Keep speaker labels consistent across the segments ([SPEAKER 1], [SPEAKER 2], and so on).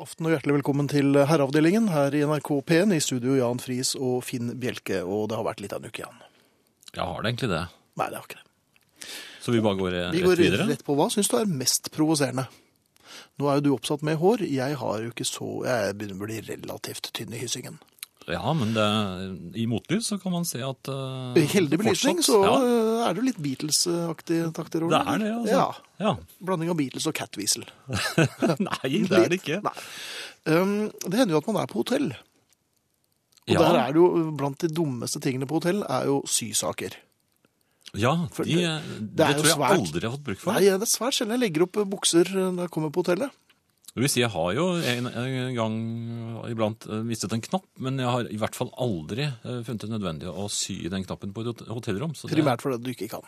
[SPEAKER 1] Aften og hjertelig velkommen til Herreavdelingen her i NRK P1 i studio Jan Friis og Finn Bjelke. Og det har vært litt av en uke igjen.
[SPEAKER 2] Ja, har det egentlig det.
[SPEAKER 1] Nei, det har ikke det.
[SPEAKER 2] Så vi bare går eh,
[SPEAKER 1] Vi
[SPEAKER 2] rett
[SPEAKER 1] går
[SPEAKER 2] videre?
[SPEAKER 1] rett på hva syns du er mest provoserende. Nå er jo du oppsatt med hår. Jeg har jo ikke så Jeg begynner å bli relativt tynn i hyssingen.
[SPEAKER 2] Ja, men det, i motlys så kan man se at uh,
[SPEAKER 1] I heldig belysning så
[SPEAKER 2] ja,
[SPEAKER 1] eh, er det jo litt Beatles-aktige takter over
[SPEAKER 2] Det er det, altså.
[SPEAKER 1] Ja.
[SPEAKER 2] Ja.
[SPEAKER 1] Blanding av Beatles og Cat Weasel.
[SPEAKER 2] Nei, det er det
[SPEAKER 1] Litt.
[SPEAKER 2] ikke.
[SPEAKER 1] Nei. Um, det hender jo at man er på hotell. Og
[SPEAKER 2] Ja,
[SPEAKER 1] der er det jo blant de dummeste tingene på hotell er jo sysaker.
[SPEAKER 2] ja
[SPEAKER 1] For
[SPEAKER 2] de, eh,
[SPEAKER 1] det-
[SPEAKER 2] det,
[SPEAKER 1] det er jo
[SPEAKER 2] tror jeg
[SPEAKER 1] svært-
[SPEAKER 2] aldri jeg har fått bruk for.
[SPEAKER 1] Nei, det er svært sjelden jeg legger opp eh, bukser når jeg kommer på hotellet.
[SPEAKER 2] Det vil si, jeg har jo en, en gang iblant eh, mistet en knapp, men jeg har i hvert fall aldri eh, funnet det nødvendig å sy den knappen på et hot- hotellrom. Så det,
[SPEAKER 1] Primært fordi du ikke kan.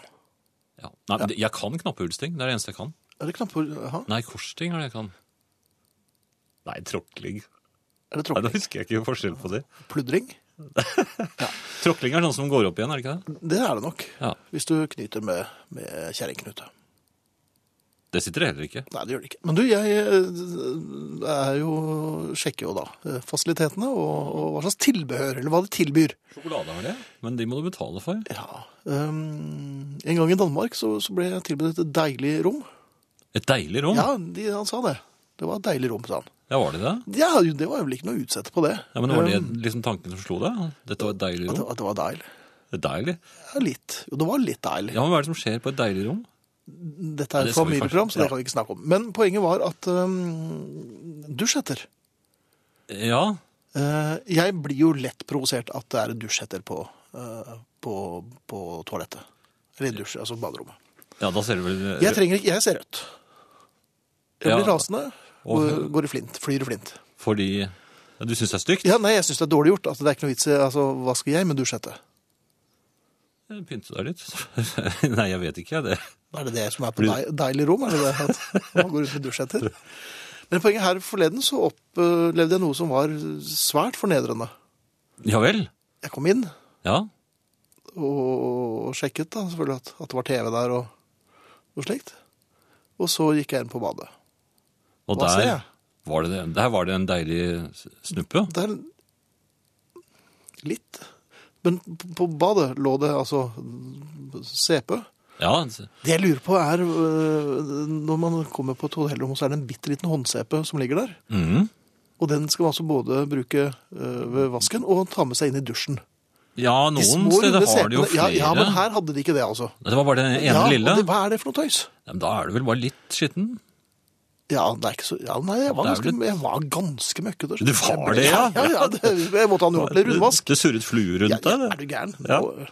[SPEAKER 2] Ja. Nei, men det- jeg kan knappehullsting. Det er det eneste jeg kan.
[SPEAKER 1] Er det knapper? Jaha,
[SPEAKER 2] Nei, korsting er det jeg kan. Nei, tråkling.
[SPEAKER 1] er det
[SPEAKER 2] Nei, Da
[SPEAKER 1] tråkking?
[SPEAKER 2] husker jeg ikke forskjell på det.
[SPEAKER 1] Pludring?
[SPEAKER 2] Tråkling er sånn som går opp igjen, er det ikke det?
[SPEAKER 1] Det er det nok.
[SPEAKER 2] Ja.
[SPEAKER 1] Hvis du knyter med, med kjerringknute.
[SPEAKER 2] Det sitter det heller ikke.
[SPEAKER 1] Nei, det gjør det ikke. Men du, jeg eh, er jo, sjekker jo da eh, fasilitetene og, og hva slags tilbehør, eller hva de tilbyr.
[SPEAKER 2] Sjokolade har det, men de må du betale for.
[SPEAKER 1] Ja, ehm, En gang i Danmark så, så ble jeg tilbudt et deilig rom.
[SPEAKER 2] Et deilig rom? Ja,
[SPEAKER 1] Ja, de, han sa det. Det var et deilig rom, sa han.
[SPEAKER 2] var det det?
[SPEAKER 1] Ja, jo, Det var vel ikke noe å utsette på det.
[SPEAKER 2] Ja, men Var det
[SPEAKER 1] Ehm,
[SPEAKER 2] liksom tanken som slo deg? Dette var et deilig
[SPEAKER 1] at,
[SPEAKER 2] rom?
[SPEAKER 1] det- at det var deilig.
[SPEAKER 2] Et deilig?
[SPEAKER 1] Ja, litt. Jo, det var litt deilig.
[SPEAKER 2] Ja, men Hva er det som skjer på et deilig rom?
[SPEAKER 1] Dette er
[SPEAKER 2] Ja, det
[SPEAKER 1] et
[SPEAKER 2] skal vi
[SPEAKER 1] familieprogram,
[SPEAKER 2] kanskje-
[SPEAKER 1] så det
[SPEAKER 2] ja.
[SPEAKER 1] kan vi ikke snakke om. Men poenget var at ehm, dusjhetter
[SPEAKER 2] Ja,
[SPEAKER 1] Eh, Jeg blir jo lett provosert at det er en dusjhetter på, eh, på, på toalettet. Eller i dusj, altså baderommet.
[SPEAKER 2] ja da ser du vel eh,
[SPEAKER 1] Jeg trenger ikke, jeg ser rødt. Jeg blir
[SPEAKER 2] Ja.
[SPEAKER 1] rasende, går,
[SPEAKER 2] Og-
[SPEAKER 1] går i flint, flyr i flint.
[SPEAKER 2] Fordi ja, Du syns det er stygt?
[SPEAKER 1] Ja, nei, jeg synes det er dårlig gjort. Altså, det er ikke noe vits i, altså, hva skal jeg med dusjhette?
[SPEAKER 2] Eh, Pynte deg litt? Nei, jeg vet ikke. jeg, Det.
[SPEAKER 1] Er det det som er på dei, deilig rom? Er det det at man går ut med dusjhetter? Men poenget her forleden så opplevde jeg noe som var svært fornedrende.
[SPEAKER 2] Ja vel?
[SPEAKER 1] Jeg kom inn,
[SPEAKER 2] Ja.
[SPEAKER 1] og, og sjekket da selvfølgelig at, at det var TV der og noe slikt. Og så gikk jeg inn på badet.
[SPEAKER 2] Og
[SPEAKER 1] Hva ser
[SPEAKER 2] der
[SPEAKER 1] jeg?
[SPEAKER 2] var, det, der var det en deilig snuppe?
[SPEAKER 1] Det er litt. Men på- på badet lå det altså CP.
[SPEAKER 2] Ja.
[SPEAKER 1] Det jeg lurer på er, øh, når man kommer på et hotellrom, så er det en bitte liten håndsepe som ligger der.
[SPEAKER 2] mhm.
[SPEAKER 1] Og den skal man altså både bruke øh, ved vasken og ta med seg inn i dusjen.
[SPEAKER 2] Ja,
[SPEAKER 1] De
[SPEAKER 2] noen
[SPEAKER 1] små, runde
[SPEAKER 2] steder har de jo
[SPEAKER 1] sepene-
[SPEAKER 2] flere.
[SPEAKER 1] Ja, ja, men her hadde de ikke det, altså.
[SPEAKER 2] Dette var bare den ene
[SPEAKER 1] ja, og
[SPEAKER 2] lille.
[SPEAKER 1] Det, hva er det for noe tøys?
[SPEAKER 2] Ja, men Da er du vel bare litt skitten?
[SPEAKER 1] Ja, det er ikke så... Ja, nei, jeg var
[SPEAKER 2] Det er
[SPEAKER 1] ganske,
[SPEAKER 2] vel
[SPEAKER 1] jeg var ganske møkkete.
[SPEAKER 2] Du var
[SPEAKER 1] Jeg ble-
[SPEAKER 2] det, ja?
[SPEAKER 1] Ja, ja, det, jeg måtte ha en ordentlig rundvask.
[SPEAKER 2] Det, det surret fluer
[SPEAKER 1] Ja,
[SPEAKER 2] rundt
[SPEAKER 1] ja,
[SPEAKER 2] deg?
[SPEAKER 1] er du gæren?
[SPEAKER 2] Ja.
[SPEAKER 1] Nå- øh,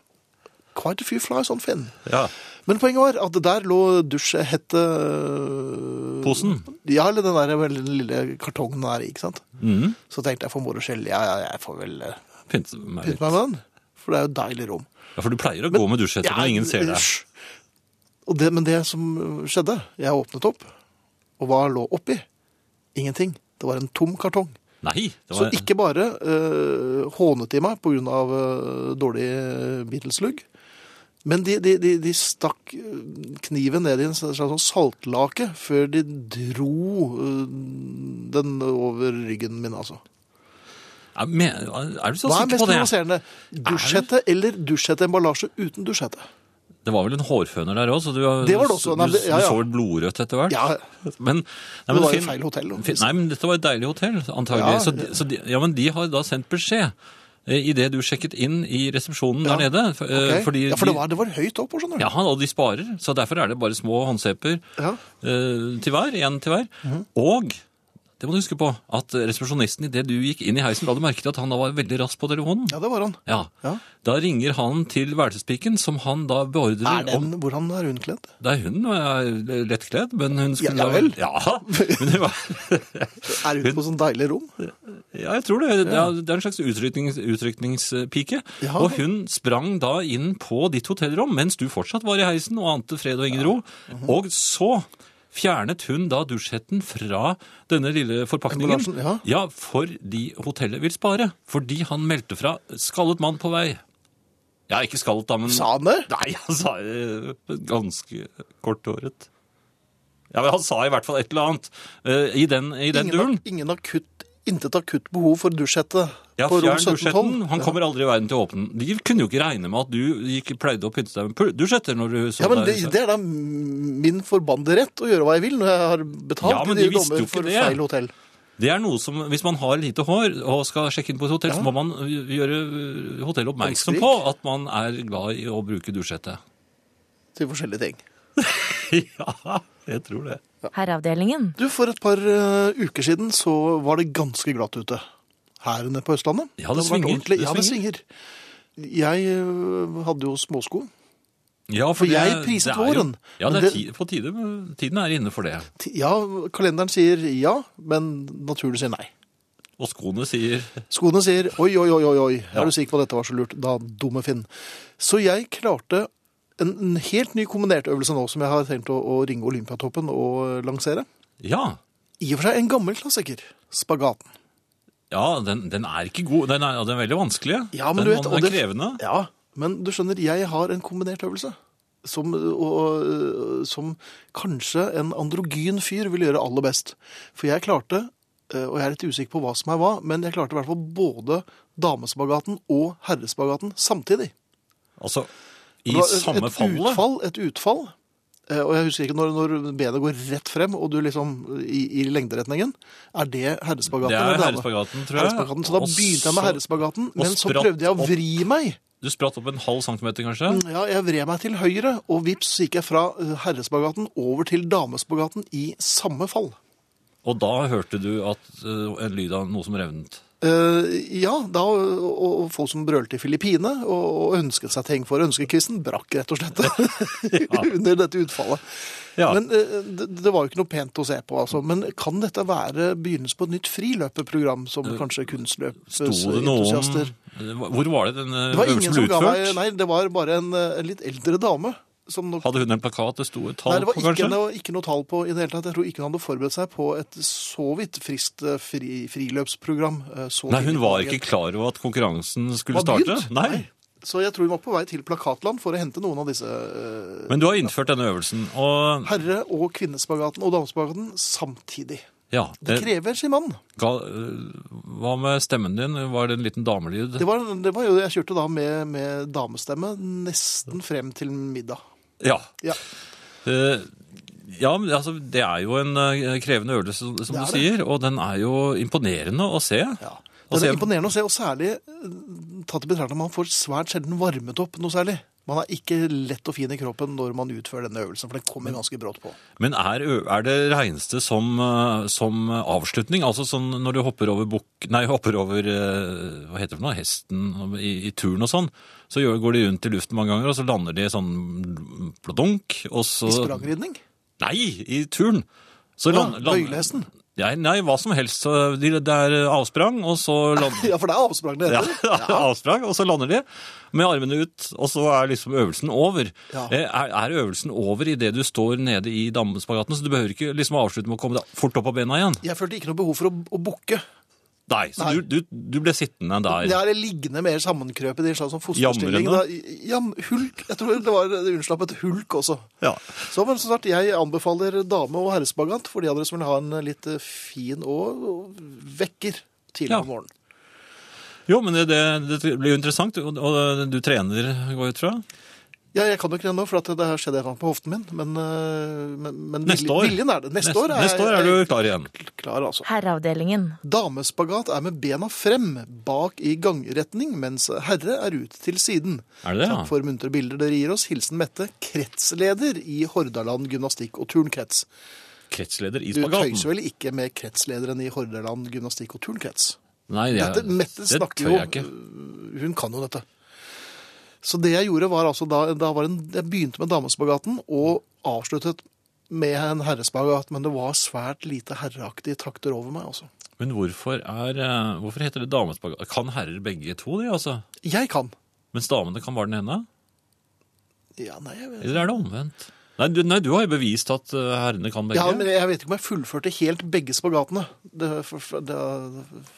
[SPEAKER 1] Quite a few flies on Finn.
[SPEAKER 2] det. Ja.
[SPEAKER 1] Men poenget var at der lå dusjehette... øh,
[SPEAKER 2] Posen?
[SPEAKER 1] Ja, eller den der veldig lille kartongen der, ikke sant?
[SPEAKER 2] Mm.
[SPEAKER 1] Så tenkte jeg for moro skyld, ja, ja, jeg får vel øh,
[SPEAKER 2] Pynte meg litt.
[SPEAKER 1] pynte meg med den. For det er jo et deilig rom.
[SPEAKER 2] Ja, for du pleier å gå med dusjhetter når ingen ser deg.
[SPEAKER 1] hysj. Og det, men det som skjedde, jeg åpnet opp, og hva lå oppi? Ingenting. Det var en tom kartong.
[SPEAKER 2] Nei! Det
[SPEAKER 1] Så
[SPEAKER 2] var,
[SPEAKER 1] ikke bare øh, hånet de meg på grunn av øh, dårlig Beatles-lugg, men de, de, de, de stakk øh, kniven ned i en slags sånn saltlake før de dro øh, den over ryggen min, altså.
[SPEAKER 2] Ja, men, er du så
[SPEAKER 1] Hva er
[SPEAKER 2] sikker
[SPEAKER 1] mest
[SPEAKER 2] på det?
[SPEAKER 1] provoserende? Dusjhette eller dusjhetteemballasje uten dusjhette?
[SPEAKER 2] Det var vel en hårføner der òg, så du,
[SPEAKER 1] Det var det også, nei,
[SPEAKER 2] du,
[SPEAKER 1] det- ja, ja.
[SPEAKER 2] du så vel blodrødt etter hvert?
[SPEAKER 1] Ja,
[SPEAKER 2] Men, nei,
[SPEAKER 1] det
[SPEAKER 2] men
[SPEAKER 1] var jo
[SPEAKER 2] Finn-
[SPEAKER 1] feil hotell.
[SPEAKER 2] Finn- Nei, men dette var et deilig hotell, antagelig.
[SPEAKER 1] Ja.
[SPEAKER 2] Ja, så, de- så de, ja, men de har da sendt beskjed idet du sjekket inn i resepsjonen
[SPEAKER 1] Ja.
[SPEAKER 2] der nede. For, eh,
[SPEAKER 1] Ok.
[SPEAKER 2] Fordi
[SPEAKER 1] ja, for det
[SPEAKER 2] de-
[SPEAKER 1] var, det var høyt opp, skjønner du.
[SPEAKER 2] Ja, og de sparer, så derfor er det bare små håndseper
[SPEAKER 1] Ja.
[SPEAKER 2] eh, til hver, en til hver.
[SPEAKER 1] Mhm.
[SPEAKER 2] Og, det må du huske på, at resepsjonisten i det du gikk inn i heisen, la du merke til at han da var veldig rask på telefonen.
[SPEAKER 1] Ja, det var han.
[SPEAKER 2] Ja.
[SPEAKER 1] Ja.
[SPEAKER 2] Da ringer han til værelsespiken, som han da beordrer
[SPEAKER 1] Er
[SPEAKER 2] om
[SPEAKER 1] den, hvordan er hun kledd?
[SPEAKER 2] Det er hun, og jeg er lettkledd, men hun skulle
[SPEAKER 1] Ja, ja
[SPEAKER 2] da-
[SPEAKER 1] vel.
[SPEAKER 2] Ja, men det var...
[SPEAKER 1] Er hun på sånn deilig rom?
[SPEAKER 2] Ja, jeg tror det. Ja, det er en slags utryknings, utrykningspike.
[SPEAKER 1] Ja.
[SPEAKER 2] Og hun sprang da inn på ditt hotellrom mens du fortsatt var i heisen og ante fred og ingen ro.
[SPEAKER 1] Mhm.
[SPEAKER 2] Og så fjernet hun da dusjhetten fra denne lille forpakningen.
[SPEAKER 1] Emballasjen, ja.
[SPEAKER 2] fordi hotellet vil spare. Fordi han meldte fra skallet mann på vei. Ja, ikke skallet da, men
[SPEAKER 1] Sa han det?
[SPEAKER 2] Nei, han sa eh, ganske korthåret. Ja, men Han sa i hvert fall et eller annet eh, i den, i den
[SPEAKER 1] Ingen,
[SPEAKER 2] duren.
[SPEAKER 1] har- ingen akutt, intet akutt behov for dusjhette
[SPEAKER 2] Ja,
[SPEAKER 1] på rom
[SPEAKER 2] fjern
[SPEAKER 1] 1712.
[SPEAKER 2] dusjetten. Han kommer aldri i verden til å åpne den. De kunne jo ikke regne med at du gikk, pleide å pynte deg med pul- dusjetter når du så
[SPEAKER 1] Ja, men det,
[SPEAKER 2] deg.
[SPEAKER 1] det er da min forbannede rett å gjøre hva jeg vil når jeg har betalt
[SPEAKER 2] Ja,
[SPEAKER 1] i
[SPEAKER 2] men de
[SPEAKER 1] de
[SPEAKER 2] visste
[SPEAKER 1] dommer
[SPEAKER 2] jo ikke
[SPEAKER 1] for
[SPEAKER 2] det.
[SPEAKER 1] feil hotell.
[SPEAKER 2] Det er noe som, Hvis man har lite hår og skal sjekke inn på et hotell, så må man ø, gjøre ø, hotellet oppmerksom
[SPEAKER 1] Håndsprit.
[SPEAKER 2] på at man er glad i å bruke dusjhette.
[SPEAKER 1] Til forskjellige ting.
[SPEAKER 2] ja, jeg tror det.
[SPEAKER 3] Herreavdelingen.
[SPEAKER 1] Du, For et par eh, uker siden så var det ganske glatt ute. Her nede på Østlandet.
[SPEAKER 2] Ja, det
[SPEAKER 1] hadde vært
[SPEAKER 2] svinger,
[SPEAKER 1] ordentlig-
[SPEAKER 2] det
[SPEAKER 1] Ja, det svinger. Jeg eh, hadde jo småsko.
[SPEAKER 2] Ja,
[SPEAKER 1] For
[SPEAKER 2] det-
[SPEAKER 1] jeg priset
[SPEAKER 2] det er jo-
[SPEAKER 1] våren,
[SPEAKER 2] Ja,
[SPEAKER 1] men
[SPEAKER 2] det er
[SPEAKER 1] det-
[SPEAKER 2] ti- på tide, men tiden er inne for det.
[SPEAKER 1] Ti- Ja, kalenderen sier ja, men naturen sier nei.
[SPEAKER 2] Og skoene sier
[SPEAKER 1] Skoene sier oi, oi, oi, oi, oi.
[SPEAKER 2] Ja.
[SPEAKER 1] er du sikker på at dette var så lurt? Da, dumme Finn. Så jeg klarte en, en helt ny kombinert øvelse nå, som jeg har tenkt å, å ringe Olympiatoppen og eh, lansere.
[SPEAKER 2] ja.
[SPEAKER 1] I og for seg en gammel klassiker. Spagaten.
[SPEAKER 2] Ja, den, den er ikke god. Den er, den er veldig vanskelig.
[SPEAKER 1] Ja, men
[SPEAKER 2] den,
[SPEAKER 1] du vet,
[SPEAKER 2] den
[SPEAKER 1] og
[SPEAKER 2] er
[SPEAKER 1] det-
[SPEAKER 2] krevende.
[SPEAKER 1] Ja, men du skjønner, jeg har en kombinert øvelse. Som, og, og, som kanskje en androgyn fyr vil gjøre aller best. For jeg klarte, eh, og jeg er litt usikker på hva som er hva, men jeg klarte i hvert fall både damespagaten og herrespagaten samtidig.
[SPEAKER 2] Altså, i
[SPEAKER 1] Det var et-
[SPEAKER 2] samme
[SPEAKER 1] et
[SPEAKER 2] fallet.
[SPEAKER 1] Utfall, et utfall. Eh, Og jeg husker ikke når, når benet går rett frem, og du liksom i, i lengderetningen. Er det herrespagaten?
[SPEAKER 2] Det er
[SPEAKER 1] eller dame?
[SPEAKER 2] herrespagaten, tror jeg.
[SPEAKER 1] Herrespagaten. Så da
[SPEAKER 2] Og
[SPEAKER 1] begynte jeg med
[SPEAKER 2] så-
[SPEAKER 1] herrespagaten, men så
[SPEAKER 2] spratt
[SPEAKER 1] prøvde jeg å
[SPEAKER 2] opp.
[SPEAKER 1] vri meg.
[SPEAKER 2] Du spratt opp en halv centimeter, kanskje?
[SPEAKER 1] Ja, jeg vred meg til høyre, og vips gikk jeg fra eh, herrespagaten over til damespagaten i samme fall.
[SPEAKER 2] Og da hørte du at, eh, en lyd av noe som revnet.
[SPEAKER 1] Eh, ja, da, og, og folk som brølte i Filippine og, og ønsket seg ting for ønskekvisten, brakk rett og slett under dette utfallet.
[SPEAKER 2] Ja.
[SPEAKER 1] Men eh, det, det var jo ikke noe pent å se på, altså. Men kan dette være begynnelsen på et nytt friløperprogram, som kanskje
[SPEAKER 2] Eh, Sto det eh,
[SPEAKER 1] kunstløpentusiaster?
[SPEAKER 2] noen Hvor var det den eh,
[SPEAKER 1] Det var
[SPEAKER 2] øvelsen
[SPEAKER 1] ingen
[SPEAKER 2] ble
[SPEAKER 1] som ga meg
[SPEAKER 2] utført?
[SPEAKER 1] Nei, det var bare en, eh, en litt eldre dame som nok
[SPEAKER 2] Hadde hun en plakat det sto et
[SPEAKER 1] Nei,
[SPEAKER 2] tall
[SPEAKER 1] det
[SPEAKER 2] på,
[SPEAKER 1] var ikke,
[SPEAKER 2] kanskje?
[SPEAKER 1] noe, ikke noe tall på i det hele tatt. Jeg tror ikke hun hadde forberedt seg på et så vidt friskt eh, fri, friløpsprogram. eh, Så
[SPEAKER 2] Nei,
[SPEAKER 1] tidlig
[SPEAKER 2] hun
[SPEAKER 1] på
[SPEAKER 2] var
[SPEAKER 1] dagen.
[SPEAKER 2] ikke klar over at konkurransen skulle
[SPEAKER 1] Var
[SPEAKER 2] starte.
[SPEAKER 1] begynt?
[SPEAKER 2] Nei.
[SPEAKER 1] Så jeg tror hun var på vei til Plakatland for å hente noen av disse eh,
[SPEAKER 2] Men du har innført denne øvelsen, og
[SPEAKER 1] herre- og kvinnespagaten og damespagaten samtidig.
[SPEAKER 2] ja,
[SPEAKER 1] Det
[SPEAKER 2] det,
[SPEAKER 1] krever sin mann.
[SPEAKER 2] ga, eh, Hva med stemmen din? Var det en liten damelyd?
[SPEAKER 1] Det var, det var jo Jeg kjørte da med, med damestemme nesten frem til middag.
[SPEAKER 2] Ja.
[SPEAKER 1] Ja.
[SPEAKER 2] Eh, Ja, men altså, Det er jo en eh, krevende øvelse, som som
[SPEAKER 1] Det
[SPEAKER 2] du
[SPEAKER 1] er
[SPEAKER 2] sier. Og den er jo imponerende å se.
[SPEAKER 1] Ja.
[SPEAKER 2] Og
[SPEAKER 1] Det
[SPEAKER 2] se-
[SPEAKER 1] er imponerende å se, og særlig eh, tatt i betraktning at man får svært sjelden varmet opp noe særlig. Man er ikke lett og fin i kroppen når man utfører denne øvelsen, for den kommer ganske brått på.
[SPEAKER 2] Men er, ø- er det regneste som, eh, som avslutning? Altså sånn når du hopper over bukk... Nei, hopper over eh, hva heter det for noe? Hesten i, i turen og sånn. Så gjør, går de rundt i luften mange ganger, og så lander de sånn pladunk, og så
[SPEAKER 1] I sprangridning?
[SPEAKER 2] Nei, i turen! Så
[SPEAKER 1] Ja,
[SPEAKER 2] land- land-
[SPEAKER 1] Bøylehesten?
[SPEAKER 2] Nei, nei, hva som helst. Så de- Det er avsprang, og så lander
[SPEAKER 1] Ja, for det er avsprang det
[SPEAKER 2] ja,
[SPEAKER 1] heter.
[SPEAKER 2] avsprang, og så lander de med armene ut, og så er liksom øvelsen over.
[SPEAKER 1] Ja.
[SPEAKER 2] Eh, Er, er øvelsen over idet du står nede i dammespagaten, så du behøver ikke liksom avslutte med å komme deg fort opp på bena igjen?
[SPEAKER 1] Jeg følte ikke noe behov for å, å bukke.
[SPEAKER 2] Nei, så
[SPEAKER 1] Nei.
[SPEAKER 2] Du, du, du ble sittende der.
[SPEAKER 1] Jeg er liggende mer sammenkrøpet i en slags sånn fosterstilling.
[SPEAKER 2] Jamrende?
[SPEAKER 1] Da- Jam, hulk. Jeg tror det var det unnslapp et hulk også.
[SPEAKER 2] Ja.
[SPEAKER 1] Så men som sagt, jeg anbefaler dame- og herrespagat for de av dere som vil ha en litt eh, fin og og vekker tidlig
[SPEAKER 2] Ja.
[SPEAKER 1] om morgenen.
[SPEAKER 2] Jo, men det, det, det blir jo interessant, og, og du trener, går jeg ut fra?
[SPEAKER 1] Ja, jeg kan jo ikke det nå, for at det har skjedd en gang på hoften min. Men, eh, men, men viljen-
[SPEAKER 2] Neste år.
[SPEAKER 1] viljen er det. Neste, år er,
[SPEAKER 2] neste år er du klar igjen.
[SPEAKER 1] jeg klar, altså.
[SPEAKER 3] Herreavdelingen.
[SPEAKER 1] Damespagat er med bena frem, bak i gangretning, mens herre er ut til siden.
[SPEAKER 2] Er det det, ja?
[SPEAKER 1] Takk for muntre bilder dere gir oss. Hilsen Mette, kretsleder i Hordaland gymnastikk og turnkrets.
[SPEAKER 2] Kretsleder i
[SPEAKER 1] Du
[SPEAKER 2] spagaten.
[SPEAKER 1] tøyser vel ikke med kretslederen i Hordaland gymnastikk og turnkrets?
[SPEAKER 2] Nei, jeg,
[SPEAKER 1] Dette, Mette
[SPEAKER 2] det
[SPEAKER 1] snakker
[SPEAKER 2] tør
[SPEAKER 1] jo Øh,
[SPEAKER 2] jeg ikke.
[SPEAKER 1] Hun kan jo dette. Så det jeg gjorde, var altså da, da var en, Jeg begynte med damespagaten og avsluttet med en herrespagat, men det var svært lite herreaktige trakter over meg, altså.
[SPEAKER 2] Men hvorfor, er, eh, hvorfor heter det damespagat? Kan herrer begge to de, altså?
[SPEAKER 1] Jeg kan.
[SPEAKER 2] Mens damene kan bare den ene?
[SPEAKER 1] Ja, nei, jeg vet
[SPEAKER 2] Eller er det omvendt? Nei, du, nei, du har jo bevist at eh, herrene kan begge.
[SPEAKER 1] Ja, men jeg vet ikke om jeg fullførte helt begge spagatene. Det, for, for, det,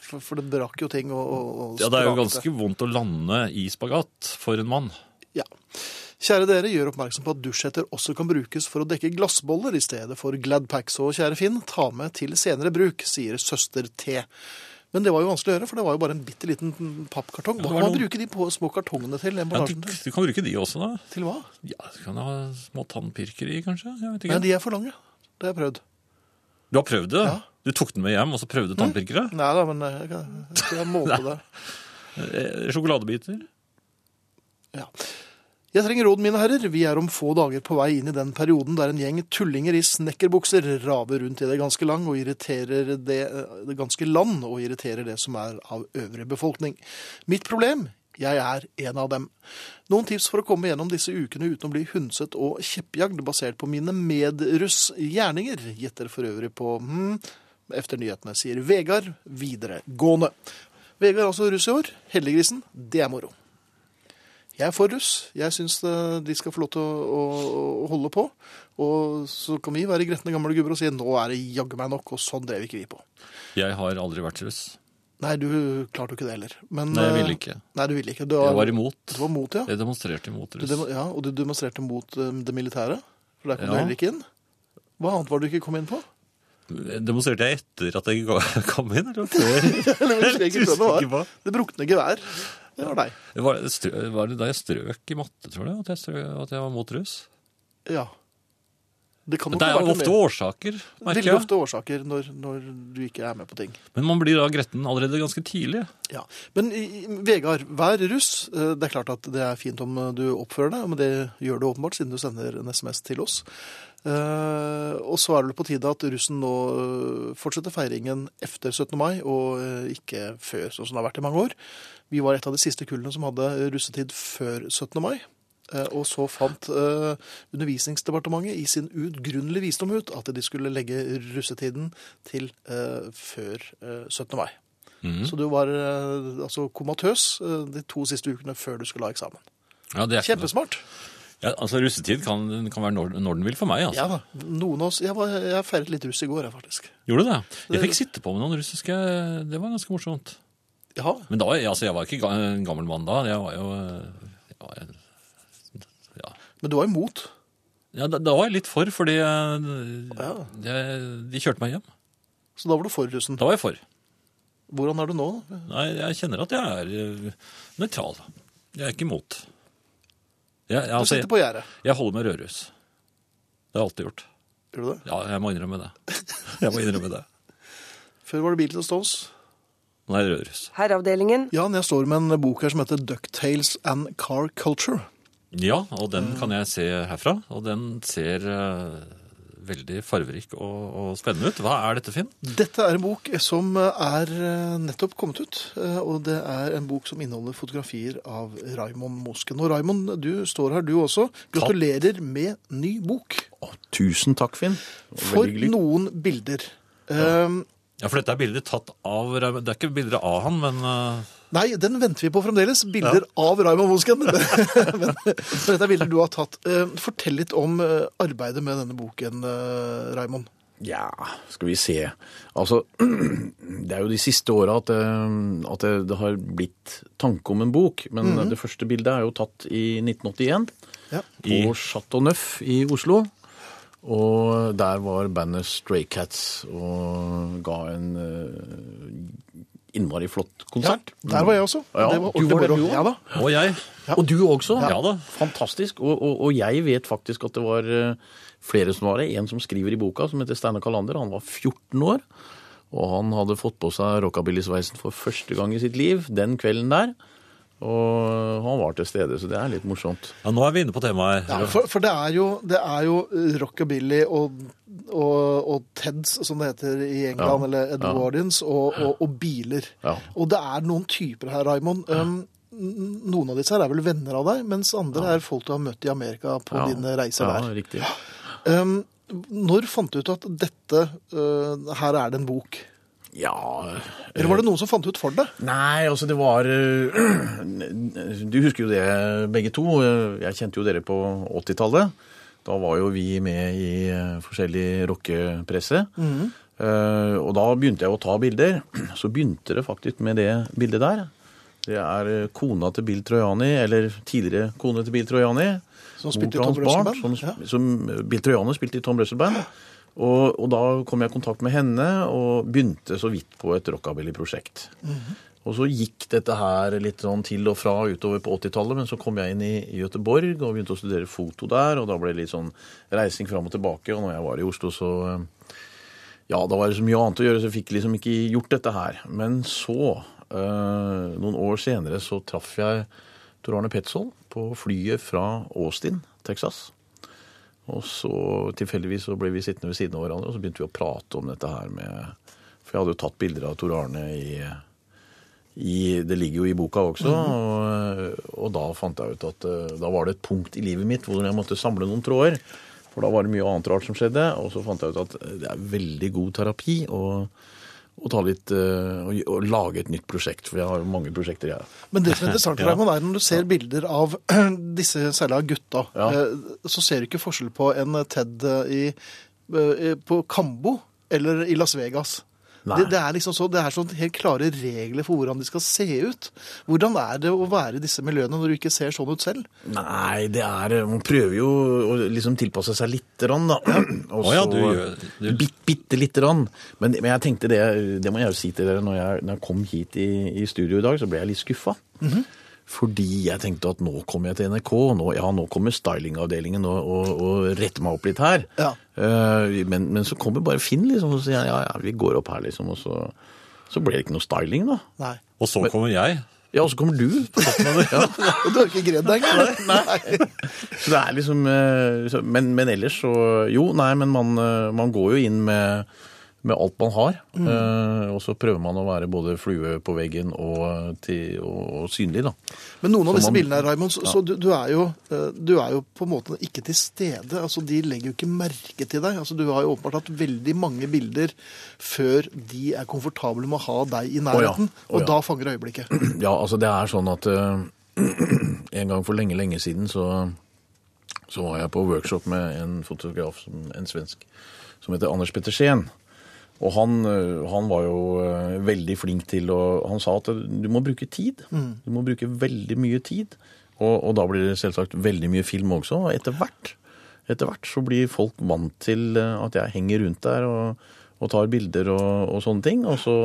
[SPEAKER 1] for, for det brakk jo ting og, og, og
[SPEAKER 2] Ja, det er jo
[SPEAKER 1] sprakte.
[SPEAKER 2] ganske vondt å lande i spagat for en mann.
[SPEAKER 1] Ja. Kjære dere, gjør oppmerksom på at dusjhetter også kan brukes for å dekke glassboller i stedet for Gladpack, så kjære Finn, ta med til senere bruk, sier søster T. Men det var jo vanskelig å gjøre, for det var jo bare en bitte liten pappkartong.
[SPEAKER 2] Ja, det
[SPEAKER 1] Hva
[SPEAKER 2] var
[SPEAKER 1] kan man
[SPEAKER 2] noen-
[SPEAKER 1] bruke de på små kartongene til?
[SPEAKER 2] Ja, du,
[SPEAKER 1] Emballasjen til?
[SPEAKER 2] du kan bruke de også, da.
[SPEAKER 1] Til hva?
[SPEAKER 2] Ja, Du kan ha små tannpirker i, kanskje. Jeg
[SPEAKER 1] Nei,
[SPEAKER 2] vet ikke.
[SPEAKER 1] de er for lange. Det har jeg prøvd.
[SPEAKER 2] Du har prøvd det?
[SPEAKER 1] Ja.
[SPEAKER 2] Du tok den med hjem, og så prøvde tannpirkere?
[SPEAKER 1] Nei da, men eh, jeg kan jeg skal måle på det.
[SPEAKER 2] Eh, Sjokoladebiter?
[SPEAKER 1] Ja. Jeg trenger råd, mine herrer. Vi er om få dager på vei inn i den perioden der en gjeng tullinger i snekkerbukser raver rundt i det ganske lang og irriterer det, eh, det ganske land og irriterer det som er av øvrig befolkning. Mitt problem? Jeg er en av dem. Noen tips for å komme gjennom disse ukene uten å bli hundset og kjeppjagd basert på mine medruss gjerninger, gjetter for øvrig på hmm, efter nyhetene, sier Vegard videregående. Vegard er altså russ i år. Heldiggrisen, det er moro. Jeg er for russ. Jeg syns eh, de skal få lov til å, å, å holde på. Og så kan vi være gretne gamle gubber og si nå er det jaggu meg nok, og sånn drev ikke vi på.
[SPEAKER 2] Jeg har aldri vært russ.
[SPEAKER 1] Nei, du klarte jo ikke det heller. Men,
[SPEAKER 2] Nei, jeg
[SPEAKER 1] eh,
[SPEAKER 2] ville ikke.
[SPEAKER 1] Nei, du ville ikke. Du
[SPEAKER 2] Jeg var
[SPEAKER 1] Du
[SPEAKER 2] imot.
[SPEAKER 1] var mot, ja.
[SPEAKER 2] Jeg demonstrerte imot
[SPEAKER 1] Du
[SPEAKER 2] russ.
[SPEAKER 1] demo, ja. Og du demonstrerte mot eh, det militære. For der kom
[SPEAKER 2] Ja.
[SPEAKER 1] du heller ikke inn. Hva annet var det du ikke kom inn på?
[SPEAKER 2] Demonstrerte jeg etter at jeg ga- kom inn, eller før?
[SPEAKER 1] Eller
[SPEAKER 2] Jeg
[SPEAKER 1] husker jeg ikke
[SPEAKER 2] husker
[SPEAKER 1] hva det
[SPEAKER 2] ikke hva.
[SPEAKER 1] var. Det brukne gevær. Det var deg.
[SPEAKER 2] Var, det strø- var det da jeg strøk i matte, tror du, at jeg, strø, at jeg var mot russ?
[SPEAKER 1] Ja. Det kan nok
[SPEAKER 2] Men det
[SPEAKER 1] ha
[SPEAKER 2] er
[SPEAKER 1] vært
[SPEAKER 2] jo
[SPEAKER 1] noe
[SPEAKER 2] ofte
[SPEAKER 1] mer.
[SPEAKER 2] årsaker, merker
[SPEAKER 1] Veldig
[SPEAKER 2] jeg.
[SPEAKER 1] ofte årsaker når, når du ikke er med på ting.
[SPEAKER 2] Men man blir da gretten allerede ganske tidlig.
[SPEAKER 1] Ja, Men i- i- Vegard, vær russ. Eh, Det er klart at det er fint om eh, du oppfører deg, men det gjør du åpenbart siden du sender en SMS til oss. Eh, og så er det vel på tide at russen nå eh, fortsetter feiringen efter 17. mai, og eh, ikke før, sånn som det har vært i mange år. Vi var et av de siste kullene som hadde russetid før 17. mai. Eh, Og så fant eh, Undervisningsdepartementet i sin ugrunnelige visdom ut at de skulle legge russetiden til eh, før eh, 17. mai.
[SPEAKER 2] Mm.
[SPEAKER 1] Så du var eh, altså komatøs eh, de to siste ukene før du skulle ha eksamen.
[SPEAKER 2] Ja, det er ikke noe-
[SPEAKER 1] Kjempesmart.
[SPEAKER 2] Ja, altså Russetid kan, kan være når, når den vil for meg. altså.
[SPEAKER 1] Ja da. Noen av oss Jeg, var, jeg feiret litt russ i går, jeg, faktisk.
[SPEAKER 2] Gjorde du det? Jeg fikk sitte på med noen russiske Det var ganske morsomt.
[SPEAKER 1] Ja.
[SPEAKER 2] Men da, var jeg- altså, jeg var ikke ga- en gammel mann da. Jeg var jo eh, jeg var, en- ja.
[SPEAKER 1] Men du var imot.
[SPEAKER 2] Ja, da, da var jeg litt for, fordi eh,
[SPEAKER 1] Ja.
[SPEAKER 2] jeg, de kjørte meg hjem.
[SPEAKER 1] Så da var du for russen.
[SPEAKER 2] Da var jeg for.
[SPEAKER 1] Hvordan er du nå?
[SPEAKER 2] Nei, jeg kjenner at jeg er eh, nøytral. Jeg er ikke imot. Jeg, jeg,
[SPEAKER 1] Du
[SPEAKER 2] altså,
[SPEAKER 1] sitter
[SPEAKER 2] jeg,
[SPEAKER 1] på gjerdet.
[SPEAKER 2] jeg holder meg rødrus. Det har jeg alltid gjort.
[SPEAKER 1] Gjør du det?
[SPEAKER 2] Ja, jeg må innrømme det. Jeg må innrømme det.
[SPEAKER 1] Før var det Beatles og Stones.
[SPEAKER 2] Nå er jeg rødrus.
[SPEAKER 4] Herreavdelingen.
[SPEAKER 1] Jan, jeg står med en bok her som heter Ducktales and Car Culture.
[SPEAKER 2] Ja, og den kan jeg se herfra. Og den ser eh, veldig farverik og, og spennende ut. Hva er dette, Finn?
[SPEAKER 1] Dette er en bok som er eh, nettopp kommet ut, eh, og det er en bok som inneholder fotografier av Raimond Mosken. Og Raimond, du står her du også. Gratulerer med ny bok.
[SPEAKER 5] Å, tusen takk, Finn.
[SPEAKER 1] For
[SPEAKER 5] Veldig hyggelig.
[SPEAKER 1] noen bilder. Ehm,
[SPEAKER 2] Ja, for dette er bilder tatt av Raymond. Det er ikke bilder av han, men eh,
[SPEAKER 1] nei, den venter vi på fremdeles. Bilder av Raimond Mosken. men, men dette er bilder du har tatt. Ehm, fortell litt om eh, arbeidet med denne boken, eh, Raimond.
[SPEAKER 5] Ja, skal vi se. Altså, det er jo de siste åra at, det- at det, det har blitt tanke om en bok. Men
[SPEAKER 1] Mhm.
[SPEAKER 5] det første bildet er jo tatt i 1981
[SPEAKER 1] Ja.
[SPEAKER 2] I-
[SPEAKER 5] på Chateau Neuf i Oslo. Og der var bandet Stray Cats og ga en eh, innmari flott
[SPEAKER 1] Ja,
[SPEAKER 5] konsert.
[SPEAKER 1] der var jeg også.
[SPEAKER 5] Ja,
[SPEAKER 1] det var
[SPEAKER 5] du var
[SPEAKER 1] ordentlig
[SPEAKER 5] der du
[SPEAKER 1] moro.
[SPEAKER 5] også?
[SPEAKER 1] Ja da.
[SPEAKER 2] Og jeg.
[SPEAKER 5] Og du også?
[SPEAKER 2] Ja da.
[SPEAKER 5] Fantastisk. Og, og, og jeg vet faktisk at det var eh, flere som var det. En som skriver i boka, som heter Steinar Kalander. Han var 14 år. Og han hadde fått på seg rockabillysveisen for første gang i sitt liv den kvelden der. Og han var til stede, så det er litt morsomt.
[SPEAKER 2] Ja, nå er vi inne på temaet her.
[SPEAKER 1] Ja, for, for det er jo, det er jo eh, rockabilly og, og, og Teds, som det heter i England,
[SPEAKER 5] Ja,
[SPEAKER 1] eller Edwardians, og, og, og biler.
[SPEAKER 5] Ja.
[SPEAKER 1] Og det er noen typer her, Raimond. Um, n- noen av disse her er vel venner av deg, mens andre er folk du har møtt i Amerika på
[SPEAKER 5] Ja.
[SPEAKER 1] dine reiser
[SPEAKER 5] Ja,
[SPEAKER 1] der.
[SPEAKER 5] riktig.
[SPEAKER 1] Um, når fant du ut at dette, uh, her er det en bok?
[SPEAKER 5] Ja,
[SPEAKER 1] Eller var det noen som fant ut for deg?
[SPEAKER 5] Nei, altså det var øh, Du husker jo det, begge to. Jeg kjente jo dere på 80-tallet. Da var jo vi med i øh, forskjellig rockepresse.
[SPEAKER 1] Mhm.
[SPEAKER 5] Eh, Og da begynte jeg å ta bilder. Så begynte det faktisk med det bildet der. Det er eh, kona til Bill Trojani, eller tidligere kone til Bill Trojani.
[SPEAKER 1] Som
[SPEAKER 5] mor
[SPEAKER 1] spilte i
[SPEAKER 5] til
[SPEAKER 1] Tom
[SPEAKER 5] hans barn,
[SPEAKER 1] Russell Band,
[SPEAKER 5] Som,
[SPEAKER 1] ja.
[SPEAKER 5] som eh, Bill Trojani spilte i Tom Russell-band. Og, og da kom jeg i kontakt med henne og begynte så vidt på et rockabilly-prosjekt.
[SPEAKER 1] Mhm.
[SPEAKER 5] Og så gikk dette her litt sånn til og fra utover på 80-tallet, men så kom jeg inn i Göteborg og begynte å studere foto der, og da ble det litt sånn reising fram og tilbake, og når jeg var i Oslo så eh, ja, da var det så mye annet å gjøre, så jeg fikk liksom ikke gjort dette her. Men så, eh, noen år senere, så traff jeg Tor Arne Petzold på flyet fra Austin, Texas. Og så tilfeldigvis så ble vi sittende ved siden av hverandre, og så begynte vi å prate om dette her med For jeg hadde jo tatt bilder av Tor Arne i, i Det ligger jo i boka også. og, og da fant jeg ut at eh, da var det et punkt i livet mitt hvor jeg måtte samle noen tråder. For da var det mye annet rart som skjedde, og så fant jeg ut at det er veldig god terapi å, å, ta litt, eh, å, å lage et nytt prosjekt, for jeg har jo mange prosjekter, jeg.
[SPEAKER 1] Men det som er interessant, Raymond, er når du ser bilder av disse særlig av gutta,
[SPEAKER 5] Ja.
[SPEAKER 1] eh, så ser du ikke forskjell på en Ted i, eh, på Kambo eller i Las Vegas.
[SPEAKER 5] Nei.
[SPEAKER 1] Det, det er liksom så, det er sånn helt klare regler for hvordan de skal se ut. Hvordan er det å være i disse miljøene når du ikke ser sånn ut selv?
[SPEAKER 5] Nei, det er eh, Man prøver jo å liksom tilpasse seg lite grann, da. Og eh,
[SPEAKER 2] Å ja, du gjør- du-
[SPEAKER 5] Bitt, bitte lite grann. Men, men jeg tenkte det Det må jeg jo si til dere. Når jeg, når jeg kom hit i, i studio i dag, så ble jeg litt skuffa.
[SPEAKER 2] Mhm.
[SPEAKER 5] Fordi jeg tenkte at nå kommer jeg til NRK. Nå, ja, nå kommer stylingavdelingen og, og, og retter meg opp litt her.
[SPEAKER 1] Ja.
[SPEAKER 5] Eh, men, men så kommer bare Finn, liksom, og så sier han, ja, ja, vi går opp her, liksom. Og så, så ble det ikke noe styling, da.
[SPEAKER 1] Nei.
[SPEAKER 2] Og så kommer jeg.
[SPEAKER 5] Ja, og så kommer du. på toppen av det. Ja.
[SPEAKER 1] Og du har ikke greid deg engang? Nei.
[SPEAKER 5] Så det er liksom eh, så- men, men ellers så Jo, nei, men man, eh, man går jo inn med, med alt man har. eh, Og så prøver man å være både flue på veggen og, eh, til, og, og synlig, da.
[SPEAKER 1] Men noen av
[SPEAKER 5] Så
[SPEAKER 1] disse
[SPEAKER 5] man-
[SPEAKER 1] bildene her, Raimond, så, så du, du, er jo, eh, du er jo på en måte ikke til stede. Altså, de legger jo ikke merke til deg. Altså, du har jo åpenbart hatt veldig mange bilder før de er komfortable med å ha deg i
[SPEAKER 5] ja.
[SPEAKER 1] nærheten.
[SPEAKER 5] Å ja.
[SPEAKER 1] Og da fanger øyeblikket.
[SPEAKER 5] Ja, altså det er sånn at eh, en gang for lenge, lenge siden så, så var jeg på workshop med en fotograf, som, en svensk, som heter Anders Pettersen. Og han, eh, han var jo eh, veldig flink til å Han sa at du må bruke tid. Du må bruke veldig mye tid. Og, og da blir det selvsagt veldig mye film også. Og etter hvert, etter hvert så blir folk vant til eh, at jeg henger rundt der og, og tar bilder og, og sånne ting. Og så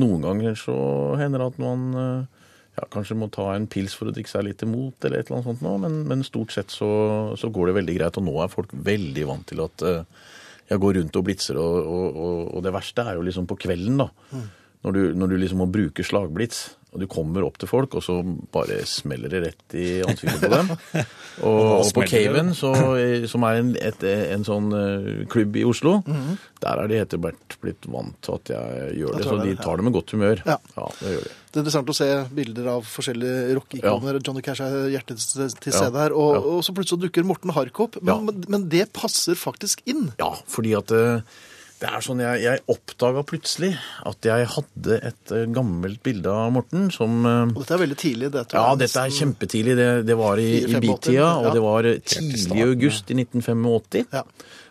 [SPEAKER 5] noen ganger så hender det at man eh, ja, kanskje må ta en pils for å drikke seg litt imot, eller et eller annet sånt nå, men, men stort sett så, så går det veldig greit. Og nå er folk veldig vant til at eh, jeg går rundt og blitser, og, og, og, og det verste er jo liksom på kvelden, da. Når, du, når du liksom må bruke slagblits, og du kommer opp til folk, og så bare smeller det rett i ansiktet på dem. Og,
[SPEAKER 2] Og hva
[SPEAKER 5] og på
[SPEAKER 2] smeller det?
[SPEAKER 5] Caven, så, som er en, et, en sånn eh, klubb i Oslo, der er de etter hvert blitt vant til at jeg gjør det.
[SPEAKER 1] tar
[SPEAKER 5] Så
[SPEAKER 1] det,
[SPEAKER 5] de
[SPEAKER 1] ja.
[SPEAKER 5] tar det med godt humør.
[SPEAKER 1] Ja.
[SPEAKER 5] det gjør de.
[SPEAKER 1] Det er interessant å se bilder av forskjellige rockeikoner. Johnny Cash er hjertet til til stede her. Og,
[SPEAKER 5] Ja.
[SPEAKER 1] og så plutselig så dukker Morten Hark opp. Men,
[SPEAKER 5] Ja.
[SPEAKER 1] men, men det passer faktisk inn.
[SPEAKER 5] Ja, fordi at eh, det er sånn jeg, jeg oppdaga plutselig at jeg hadde et eh, gammelt bilde av Morten som eh,
[SPEAKER 1] Og dette er veldig tidlig. Det, tror
[SPEAKER 5] ja,
[SPEAKER 1] jeg.
[SPEAKER 5] dette er kjempetidlig. Det, det var i, i
[SPEAKER 1] 4-5
[SPEAKER 5] bitida,
[SPEAKER 1] ja.
[SPEAKER 5] og det var eh,
[SPEAKER 2] i
[SPEAKER 5] tidlig i
[SPEAKER 2] starten,
[SPEAKER 5] august i 1985.
[SPEAKER 1] Ja.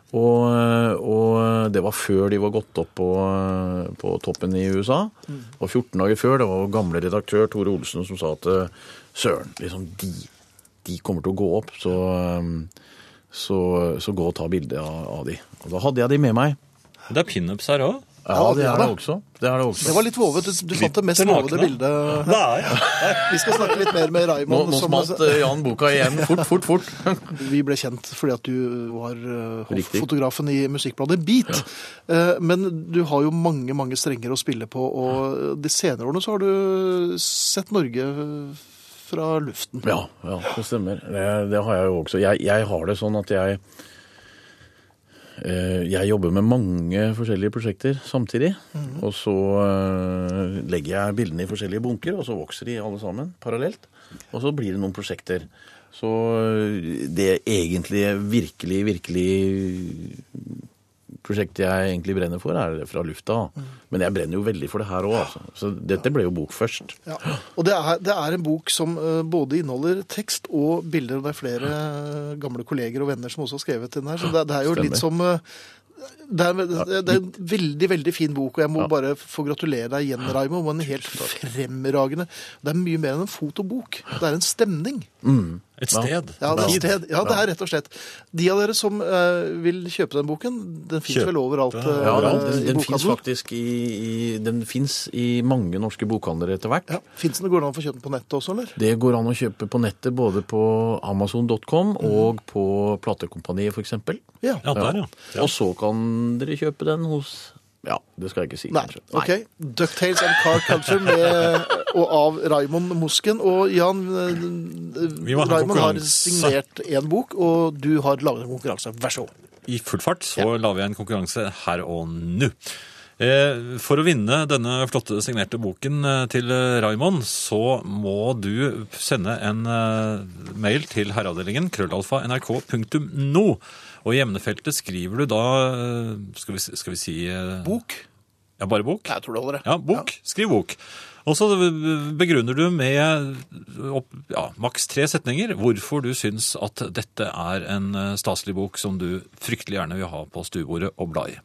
[SPEAKER 5] Og, eh, og det var før de var gått opp på, eh, på toppen i USA. Og 14 dager før, det var gamle redaktør Tore Olsen som sa at eh, søren, liksom de, de kommer til å gå opp, så, eh, så, så gå og ta bilde av, av de. Og da hadde jeg de med meg.
[SPEAKER 2] Det er pinups her òg.
[SPEAKER 5] Ja, det er
[SPEAKER 1] da.
[SPEAKER 5] det også. Det er det også.
[SPEAKER 1] det var litt vovet. Du, du fant det mest
[SPEAKER 2] Litt
[SPEAKER 1] vovede
[SPEAKER 2] nakne.
[SPEAKER 1] bildet.
[SPEAKER 2] Nei.
[SPEAKER 1] Vi skal snakke litt mer med
[SPEAKER 5] Nå,
[SPEAKER 1] Raymond.
[SPEAKER 5] nå
[SPEAKER 1] som-
[SPEAKER 5] smalt eh, Jan boka igjen. Fort, fort, fort.
[SPEAKER 1] Vi ble kjent fordi at du var eh,
[SPEAKER 5] Riktig.
[SPEAKER 1] fotografen i musikkbladet Beat. Eh, Men du har jo mange mange strenger å spille på, og de senere årene så har du sett Norge fra luften.
[SPEAKER 5] Ja, ja det stemmer. Det, det har jeg jo også. Jeg, jeg har det sånn at jeg eh, Jeg jobber med mange forskjellige prosjekter samtidig. Og så eh, legger jeg bildene i forskjellige bunker, og så vokser de alle sammen parallelt. Og så blir det noen prosjekter. Så eh, det egentlige, virkelig, virkelig prosjektet jeg egentlig brenner for, er fra lufta. Men jeg brenner jo veldig for det her òg, altså. Så dette ble jo bok først.
[SPEAKER 1] Ja. Og det er, det er en bok som eh, både inneholder tekst og bilder, og det er flere eh, gamle kolleger og venner som også har skrevet den her. Så det, det er jo
[SPEAKER 5] Stemmer.
[SPEAKER 1] litt som eh, Det er, det er en veldig veldig fin bok, og jeg må
[SPEAKER 5] Ja.
[SPEAKER 1] bare få gratulere deg igjen, Raimo. med En helt fremragende Det er mye mer enn en fotobok. Det er en stemning.
[SPEAKER 2] Et sted.
[SPEAKER 1] Ja, det er, sted. Ja, det er rett og slett. De av dere som eh, vil kjøpe den boken, den fins
[SPEAKER 2] Kjøp
[SPEAKER 1] vel overalt?
[SPEAKER 2] den.
[SPEAKER 1] eh,
[SPEAKER 5] Ja, da,
[SPEAKER 1] i
[SPEAKER 5] den, den fins
[SPEAKER 1] bokhandel?
[SPEAKER 5] faktisk i, i, den finnes i mange norske bokhandlere etter hvert.
[SPEAKER 1] Ja. Fins den? Går det an å få kjøpt den på nettet også, eller?
[SPEAKER 5] Det går an å kjøpe på nettet, både på amazon.com og på Platekompaniet f.eks.
[SPEAKER 1] Mm. Ja.
[SPEAKER 2] Ja, der, ja. ja.
[SPEAKER 5] Og så kan dere kjøpe den hos Ja, det skal jeg ikke si,
[SPEAKER 1] Nei.
[SPEAKER 5] kanskje.
[SPEAKER 1] OK. Ducktales and Car Culture med, og av Raymond Mosken. Og Jan eh,
[SPEAKER 2] Vi må ha en
[SPEAKER 1] Raymond har
[SPEAKER 2] konkurranse.
[SPEAKER 1] signert én bok, og du har laget en konkurranse. Vær så god.
[SPEAKER 2] I full fart så lager jeg en konkurranse her og nå. Eh, For å vinne denne flotte signerte boken eh, til eh, Raimond, så må du sende en eh, mail til herreavdelingen krøllalfa nrk.no. Og i emnefeltet skriver du da eh, Skal vi, skal vi si eh,
[SPEAKER 1] Bok?
[SPEAKER 2] Ja, bare bok?
[SPEAKER 1] Jeg tror det holder, det.
[SPEAKER 2] Ja, bok. Skriv bok. Og så begrunner du med opp, ja, maks tre setninger hvorfor du syns at dette er en eh, staselig bok som du fryktelig gjerne vil ha på stuebordet og bla i.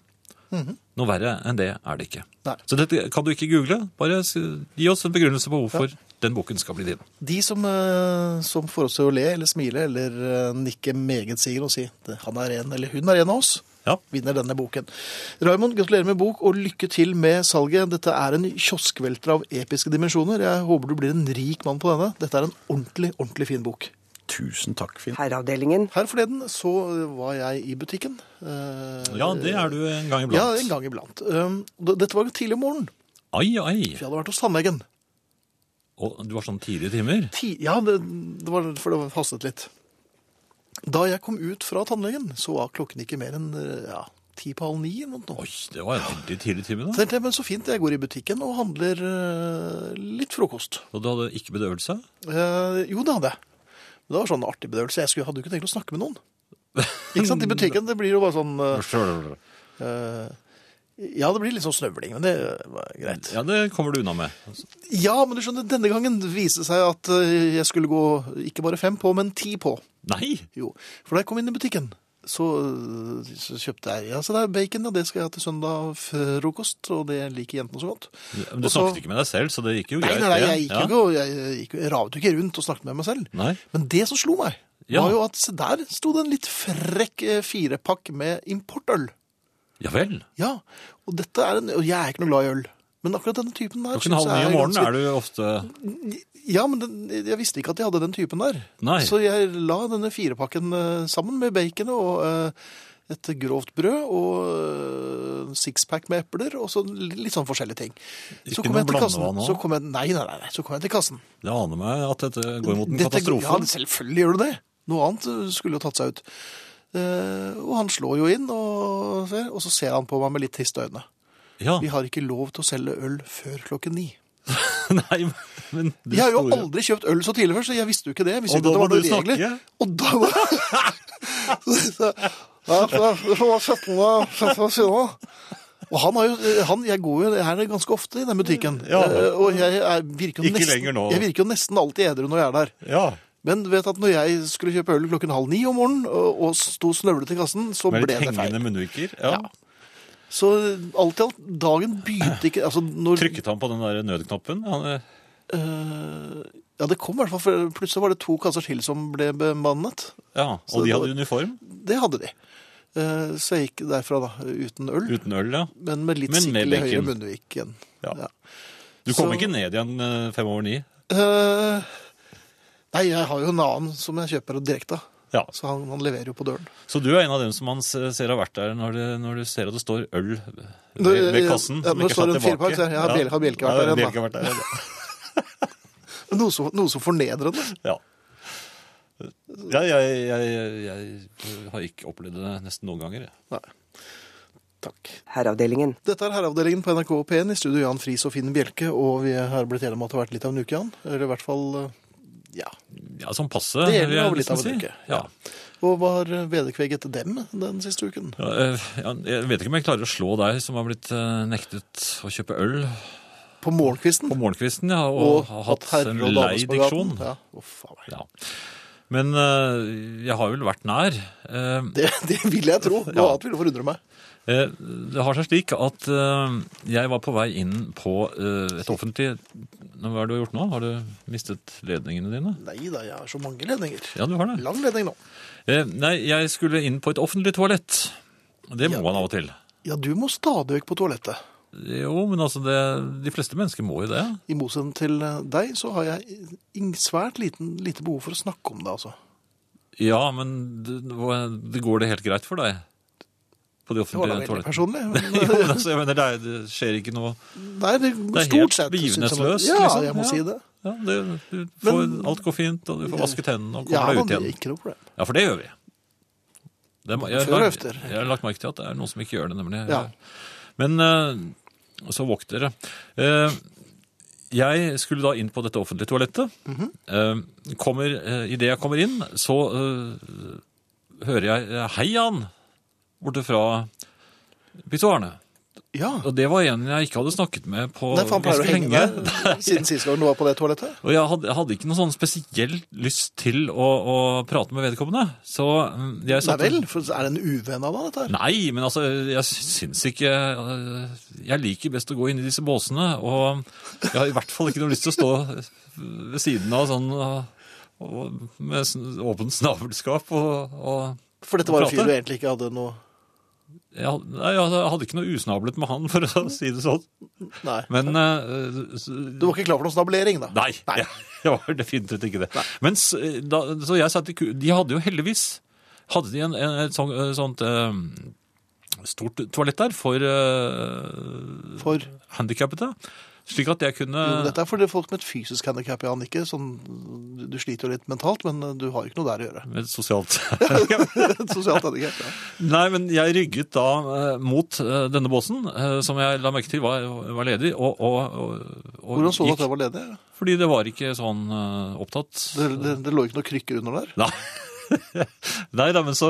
[SPEAKER 2] Noe verre enn det er det ikke.
[SPEAKER 1] Mhm. Nei.
[SPEAKER 2] Så dette kan du ikke google. Bare s- gi oss en begrunnelse på hvorfor den boken skal bli din.
[SPEAKER 1] De som, eh, som får oss til å le eller smile eller eh, nikke meget sigende og si at han er en eller hun er en av oss,
[SPEAKER 2] Ja.
[SPEAKER 1] vinner denne boken. Raymond, gratulerer med bok og lykke til med salget. Dette er en kioskvelter av episke dimensjoner. Jeg håper du blir en rik mann på denne. Dette er en ordentlig, ordentlig fin bok.
[SPEAKER 5] Tusen takk, Finn.
[SPEAKER 4] Herreavdelingen.
[SPEAKER 1] Her forleden så var jeg i butikken. eh,
[SPEAKER 2] ja, det er du en gang iblant.
[SPEAKER 1] Ja, en gang iblant. Um, d- Dette var tidlig om morgenen,
[SPEAKER 2] Ai, ai.
[SPEAKER 1] for jeg hadde vært hos tannlegen.
[SPEAKER 2] Og du har sånn tidlige timer.
[SPEAKER 1] Ti ja, det, det var for det hastet litt. Da jeg kom ut fra tannlegen, så var klokken ikke mer enn eh, ja, ti på halv ni. eller noe sånt.
[SPEAKER 2] Oi, det var en veldig tidlig time,
[SPEAKER 1] Så
[SPEAKER 2] da.
[SPEAKER 1] tenkte jeg, men så fint, jeg går i butikken og handler eh, litt frokost.
[SPEAKER 2] Og du hadde ikke bedøvelse?
[SPEAKER 1] Eh, jo, det hadde jeg. Men Det var sånn artig bedøvelse. Jeg skulle, hadde jo ikke tenkt å snakke med noen. Ikke sant, I butikken det blir jo bare sånn eh, eh, Ja, det blir litt sånn snøvling, men det var greit.
[SPEAKER 2] Ja, det kommer du unna med.
[SPEAKER 1] Ja, men du skjønner, denne gangen viste det seg at eh, jeg skulle gå ikke bare fem på, men ti på.
[SPEAKER 2] Nei!
[SPEAKER 1] Jo, for da jeg kom inn i butikken, så, øh, så kjøpte jeg ja, så det er bacon, og det skal jeg ha til søndag frokost, og det liker jentene så godt.
[SPEAKER 2] Men du
[SPEAKER 1] Og så-
[SPEAKER 2] snakket ikke med deg selv, så det gikk jo
[SPEAKER 1] Nei,
[SPEAKER 2] greit.
[SPEAKER 1] nei, nei,
[SPEAKER 2] det.
[SPEAKER 1] jeg gikk jo
[SPEAKER 2] ja.
[SPEAKER 1] ikke, og jeg, gikk, jeg ravet jo ikke rundt og snakket med meg selv.
[SPEAKER 2] Nei.
[SPEAKER 1] Men det som slo meg,
[SPEAKER 2] Ja.
[SPEAKER 1] var jo at se der sto det en litt frekk eh, firepakk med importøl.
[SPEAKER 2] Ja vel.
[SPEAKER 1] Ja, og dette er en, og jeg er ikke noe glad i øl. Men akkurat denne typen der
[SPEAKER 2] Klokken halv ni om morgenen er du ofte
[SPEAKER 1] Ja, men den, jeg visste ikke at de hadde den typen der.
[SPEAKER 2] Nei.
[SPEAKER 1] Så jeg la denne firepakken eh, sammen med bacon og eh, et grovt brød og eh, sixpack med epler og så li- litt sånn forskjellige ting.
[SPEAKER 2] Ikke noe blandevann også?
[SPEAKER 1] så kom jeg, nei, nei, nei, nei, så kom jeg til kassen.
[SPEAKER 2] Det aner meg at dette går mot en
[SPEAKER 1] Dette-
[SPEAKER 2] katastrofe.
[SPEAKER 1] Ja, selvfølgelig gjør du det. Noe annet eh, skulle jo tatt seg ut. Eh, og han slår jo inn, og, ser- og så ser han på meg med litt triste øyne.
[SPEAKER 2] Ja,
[SPEAKER 1] Vi har ikke lov til å selge øl før klokken ni.
[SPEAKER 2] nei, men du
[SPEAKER 1] Jeg har jo
[SPEAKER 2] store-
[SPEAKER 1] aldri kjøpt øl så tidlig før, så jeg visste jo ikke det. Jeg visste ikke
[SPEAKER 2] Og da
[SPEAKER 1] at det var
[SPEAKER 2] må du
[SPEAKER 1] noen regler.
[SPEAKER 2] snakke.
[SPEAKER 1] Og da var det og han har jo, han, Jeg går jo her ganske ofte i den butikken.
[SPEAKER 2] Ja.
[SPEAKER 1] Eh, Og jeg, er- virker jo
[SPEAKER 2] Ikke lenger
[SPEAKER 1] nesten,
[SPEAKER 2] nå.
[SPEAKER 1] jeg virker jo nesten alltid edru når jeg er der.
[SPEAKER 2] Ja.
[SPEAKER 1] Men du vet at når jeg skulle kjøpe øl klokken halv ni om morgenen og, og sto snøvlet i kassen, så
[SPEAKER 2] Med
[SPEAKER 1] ble
[SPEAKER 2] litt
[SPEAKER 1] det feil.
[SPEAKER 2] hengende munnviker. Ja.
[SPEAKER 1] Så alt i alt, dagen begynte ikke altså når,
[SPEAKER 2] Trykket han på den der nødknappen? Han, eh,
[SPEAKER 1] Eh, ja, det kom i hvert fall, for plutselig var det to kasser til som ble bemannet.
[SPEAKER 2] ja,
[SPEAKER 1] Så
[SPEAKER 2] Og de
[SPEAKER 1] det
[SPEAKER 2] hadde
[SPEAKER 1] var-
[SPEAKER 2] uniform?
[SPEAKER 1] Det hadde de. Eh, så jeg gikk derfra da, uten øl,
[SPEAKER 2] Uten øl, ja.
[SPEAKER 1] men med litt
[SPEAKER 2] Men med
[SPEAKER 1] sikkert høyere
[SPEAKER 2] bacon.
[SPEAKER 1] munnvik igjen.
[SPEAKER 2] Ja.
[SPEAKER 1] Ja.
[SPEAKER 2] Du kom
[SPEAKER 1] Så-
[SPEAKER 2] ikke ned igjen eh, fem over ni?
[SPEAKER 1] Eh, nei, jeg har jo en annen som jeg kjøper direkte av.
[SPEAKER 2] Ja.
[SPEAKER 1] Så han, han leverer jo på døren.
[SPEAKER 2] Så du er en av dem som man se- ser har vært der når, det, når du ser at det står øl ved,
[SPEAKER 1] Når-
[SPEAKER 2] ved kassen?
[SPEAKER 1] ja,
[SPEAKER 2] som
[SPEAKER 1] når
[SPEAKER 2] ikke
[SPEAKER 1] det står
[SPEAKER 2] satt
[SPEAKER 1] en
[SPEAKER 2] tilbake.
[SPEAKER 1] firepakk, så er jeg, har Bjelke- har Bjelke vært
[SPEAKER 2] Ja,
[SPEAKER 1] der igjen, da?
[SPEAKER 2] Bjelke har vært der igjen, ja.
[SPEAKER 1] Noe så, noe så fornedrende.
[SPEAKER 2] Ja. Ja, jeg, jeg, jeg, jeg har ikke opplevd det nesten noen ganger. jeg.
[SPEAKER 1] Nei. Takk.
[SPEAKER 4] Herreavdelingen.
[SPEAKER 1] Dette er Herreavdelingen på NRK og P1 i studio Jan Friis og Finn Bjelke, og vi har blitt enige om at det har vært litt av en uke, Jan. Eller i hvert fall eh, Ja.
[SPEAKER 2] Ja, sånn passe.
[SPEAKER 1] Det gjelder
[SPEAKER 2] vil jeg
[SPEAKER 1] over litt av
[SPEAKER 2] nesten
[SPEAKER 1] en
[SPEAKER 2] si.
[SPEAKER 1] uke,
[SPEAKER 2] Ja.
[SPEAKER 1] Og hva har vederkveget dem den siste uken?
[SPEAKER 2] Ja, eh, ja, jeg vet ikke om jeg klarer å slå deg som har blitt eh, nektet å kjøpe øl
[SPEAKER 1] På morgenkvisten?
[SPEAKER 2] på morgenkvisten ja, og,
[SPEAKER 1] og
[SPEAKER 2] har
[SPEAKER 1] hatt
[SPEAKER 2] hatt
[SPEAKER 1] herre-
[SPEAKER 2] en
[SPEAKER 1] og
[SPEAKER 2] lei
[SPEAKER 1] damespagaten.
[SPEAKER 2] diksjon.
[SPEAKER 1] Ja. å, faen meg.
[SPEAKER 2] Ja. Men eh, jeg har vel vært nær. Eh,
[SPEAKER 1] Det, det vil jeg tro. Noe annet ville forundre meg.
[SPEAKER 2] Eh, Det har seg slik at eh, jeg var på vei inn på eh, et offentlig Nå, Hva er det du har gjort nå? Har du mistet ledningene dine?
[SPEAKER 1] Nei da, jeg har så mange ledninger.
[SPEAKER 2] Ja, du har det.
[SPEAKER 1] Lang ledning nå.
[SPEAKER 2] Eh, Nei, jeg skulle inn på et offentlig toalett. Det må man av og til.
[SPEAKER 1] Ja, du må stadig vekk på toalettet.
[SPEAKER 2] Jo, men altså, det, de fleste mennesker må jo det.
[SPEAKER 1] I motsetning til eh, deg, så har jeg ing- svært liten, lite behov for å snakke om det, altså.
[SPEAKER 2] Ja, men det, hva- det går det helt greit for deg? På de
[SPEAKER 1] Det var da
[SPEAKER 2] offentlige
[SPEAKER 1] veldig
[SPEAKER 2] toalettene?
[SPEAKER 1] personlig. Men,
[SPEAKER 2] Jo, men altså, jeg mener, det, er, det skjer ikke noe
[SPEAKER 1] nei, det, stort
[SPEAKER 2] helt
[SPEAKER 1] sett. synes jeg-
[SPEAKER 2] begivenhetsløst,
[SPEAKER 1] Ja,
[SPEAKER 2] liksom.
[SPEAKER 1] jeg må
[SPEAKER 2] Ja.
[SPEAKER 1] si det.
[SPEAKER 2] ja, det, du får,
[SPEAKER 1] Men-
[SPEAKER 2] Alt går fint, og du får vasket hendene og
[SPEAKER 1] Ja,
[SPEAKER 2] kommer deg
[SPEAKER 1] men
[SPEAKER 2] ut
[SPEAKER 1] det er
[SPEAKER 2] igjen.
[SPEAKER 1] ikke noe problem.
[SPEAKER 2] Ja, for det gjør vi. Det, er- jeg,
[SPEAKER 1] Før og
[SPEAKER 2] har-
[SPEAKER 1] efter.
[SPEAKER 2] jeg har lagt merke til at det er noen som ikke gjør det, nemlig.
[SPEAKER 1] Ja.
[SPEAKER 2] Men eh, så våk dere. Eh, jeg skulle da inn på dette offentlige toalettet.
[SPEAKER 1] Mhm.
[SPEAKER 2] Eh, kommer, eh, I det jeg kommer inn, så eh, hører jeg eh, 'Hei, Jan!' borte fra pissoarene.
[SPEAKER 1] Ja.
[SPEAKER 2] Og det var en jeg ikke hadde snakket med på
[SPEAKER 1] Nei, for han pleier å
[SPEAKER 2] ganske
[SPEAKER 1] henge
[SPEAKER 2] lenge.
[SPEAKER 1] der siden sist gang du var på det toalettet.
[SPEAKER 2] Og jeg hadde, jeg hadde ikke noe sånn spesiell lyst til å, å prate med vedkommende. Så mm, jeg
[SPEAKER 1] Nei
[SPEAKER 2] satt
[SPEAKER 1] vel, for er det en uvenn av deg, dette her?
[SPEAKER 2] Nei, men altså, jeg syns ikke øh, Jeg liker best å gå inn i disse båsene, og jeg har i hvert fall ikke noe lyst til å stå ved siden av sånn og, og, med sånn åpent snabelskap og, og
[SPEAKER 1] For dette var en
[SPEAKER 2] Prate?
[SPEAKER 1] fyr du egentlig ikke hadde noe
[SPEAKER 2] jeg, had- nei, jeg hadde- jeg hadde ikke noe usnablet med han, for å si det sånn.
[SPEAKER 1] Nei.
[SPEAKER 2] Men øh, så-
[SPEAKER 1] Du var ikke klar for noen snablering, da?
[SPEAKER 2] Nei, jeg, jeg var definitivt ikke det. Men s- da, så jeg satt i ku... De hadde jo heldigvis hadde de en, en, et sånt, sånt eh, stort toalett der for uh,
[SPEAKER 1] For
[SPEAKER 2] handikappede. Slik at jeg kunne
[SPEAKER 1] jo, dette er for folk med et fysisk handikap, Jan. Ikke sånn du- Du sliter jo litt mentalt, men eh, du har jo ikke noe der å gjøre.
[SPEAKER 2] med sosialt
[SPEAKER 1] Et sosialt handikap. Ja.
[SPEAKER 2] Nei, men jeg rygget da eh, mot eh, denne båsen, eh, som jeg la merke til var, var ledig, og, og, og, og
[SPEAKER 1] Hvordan så du
[SPEAKER 2] gikk,
[SPEAKER 1] at det var ledig?
[SPEAKER 2] Fordi det var ikke sånn eh, opptatt.
[SPEAKER 1] Det, det, det lå ikke noe krykker under der?
[SPEAKER 2] Nei. Nei da, men så,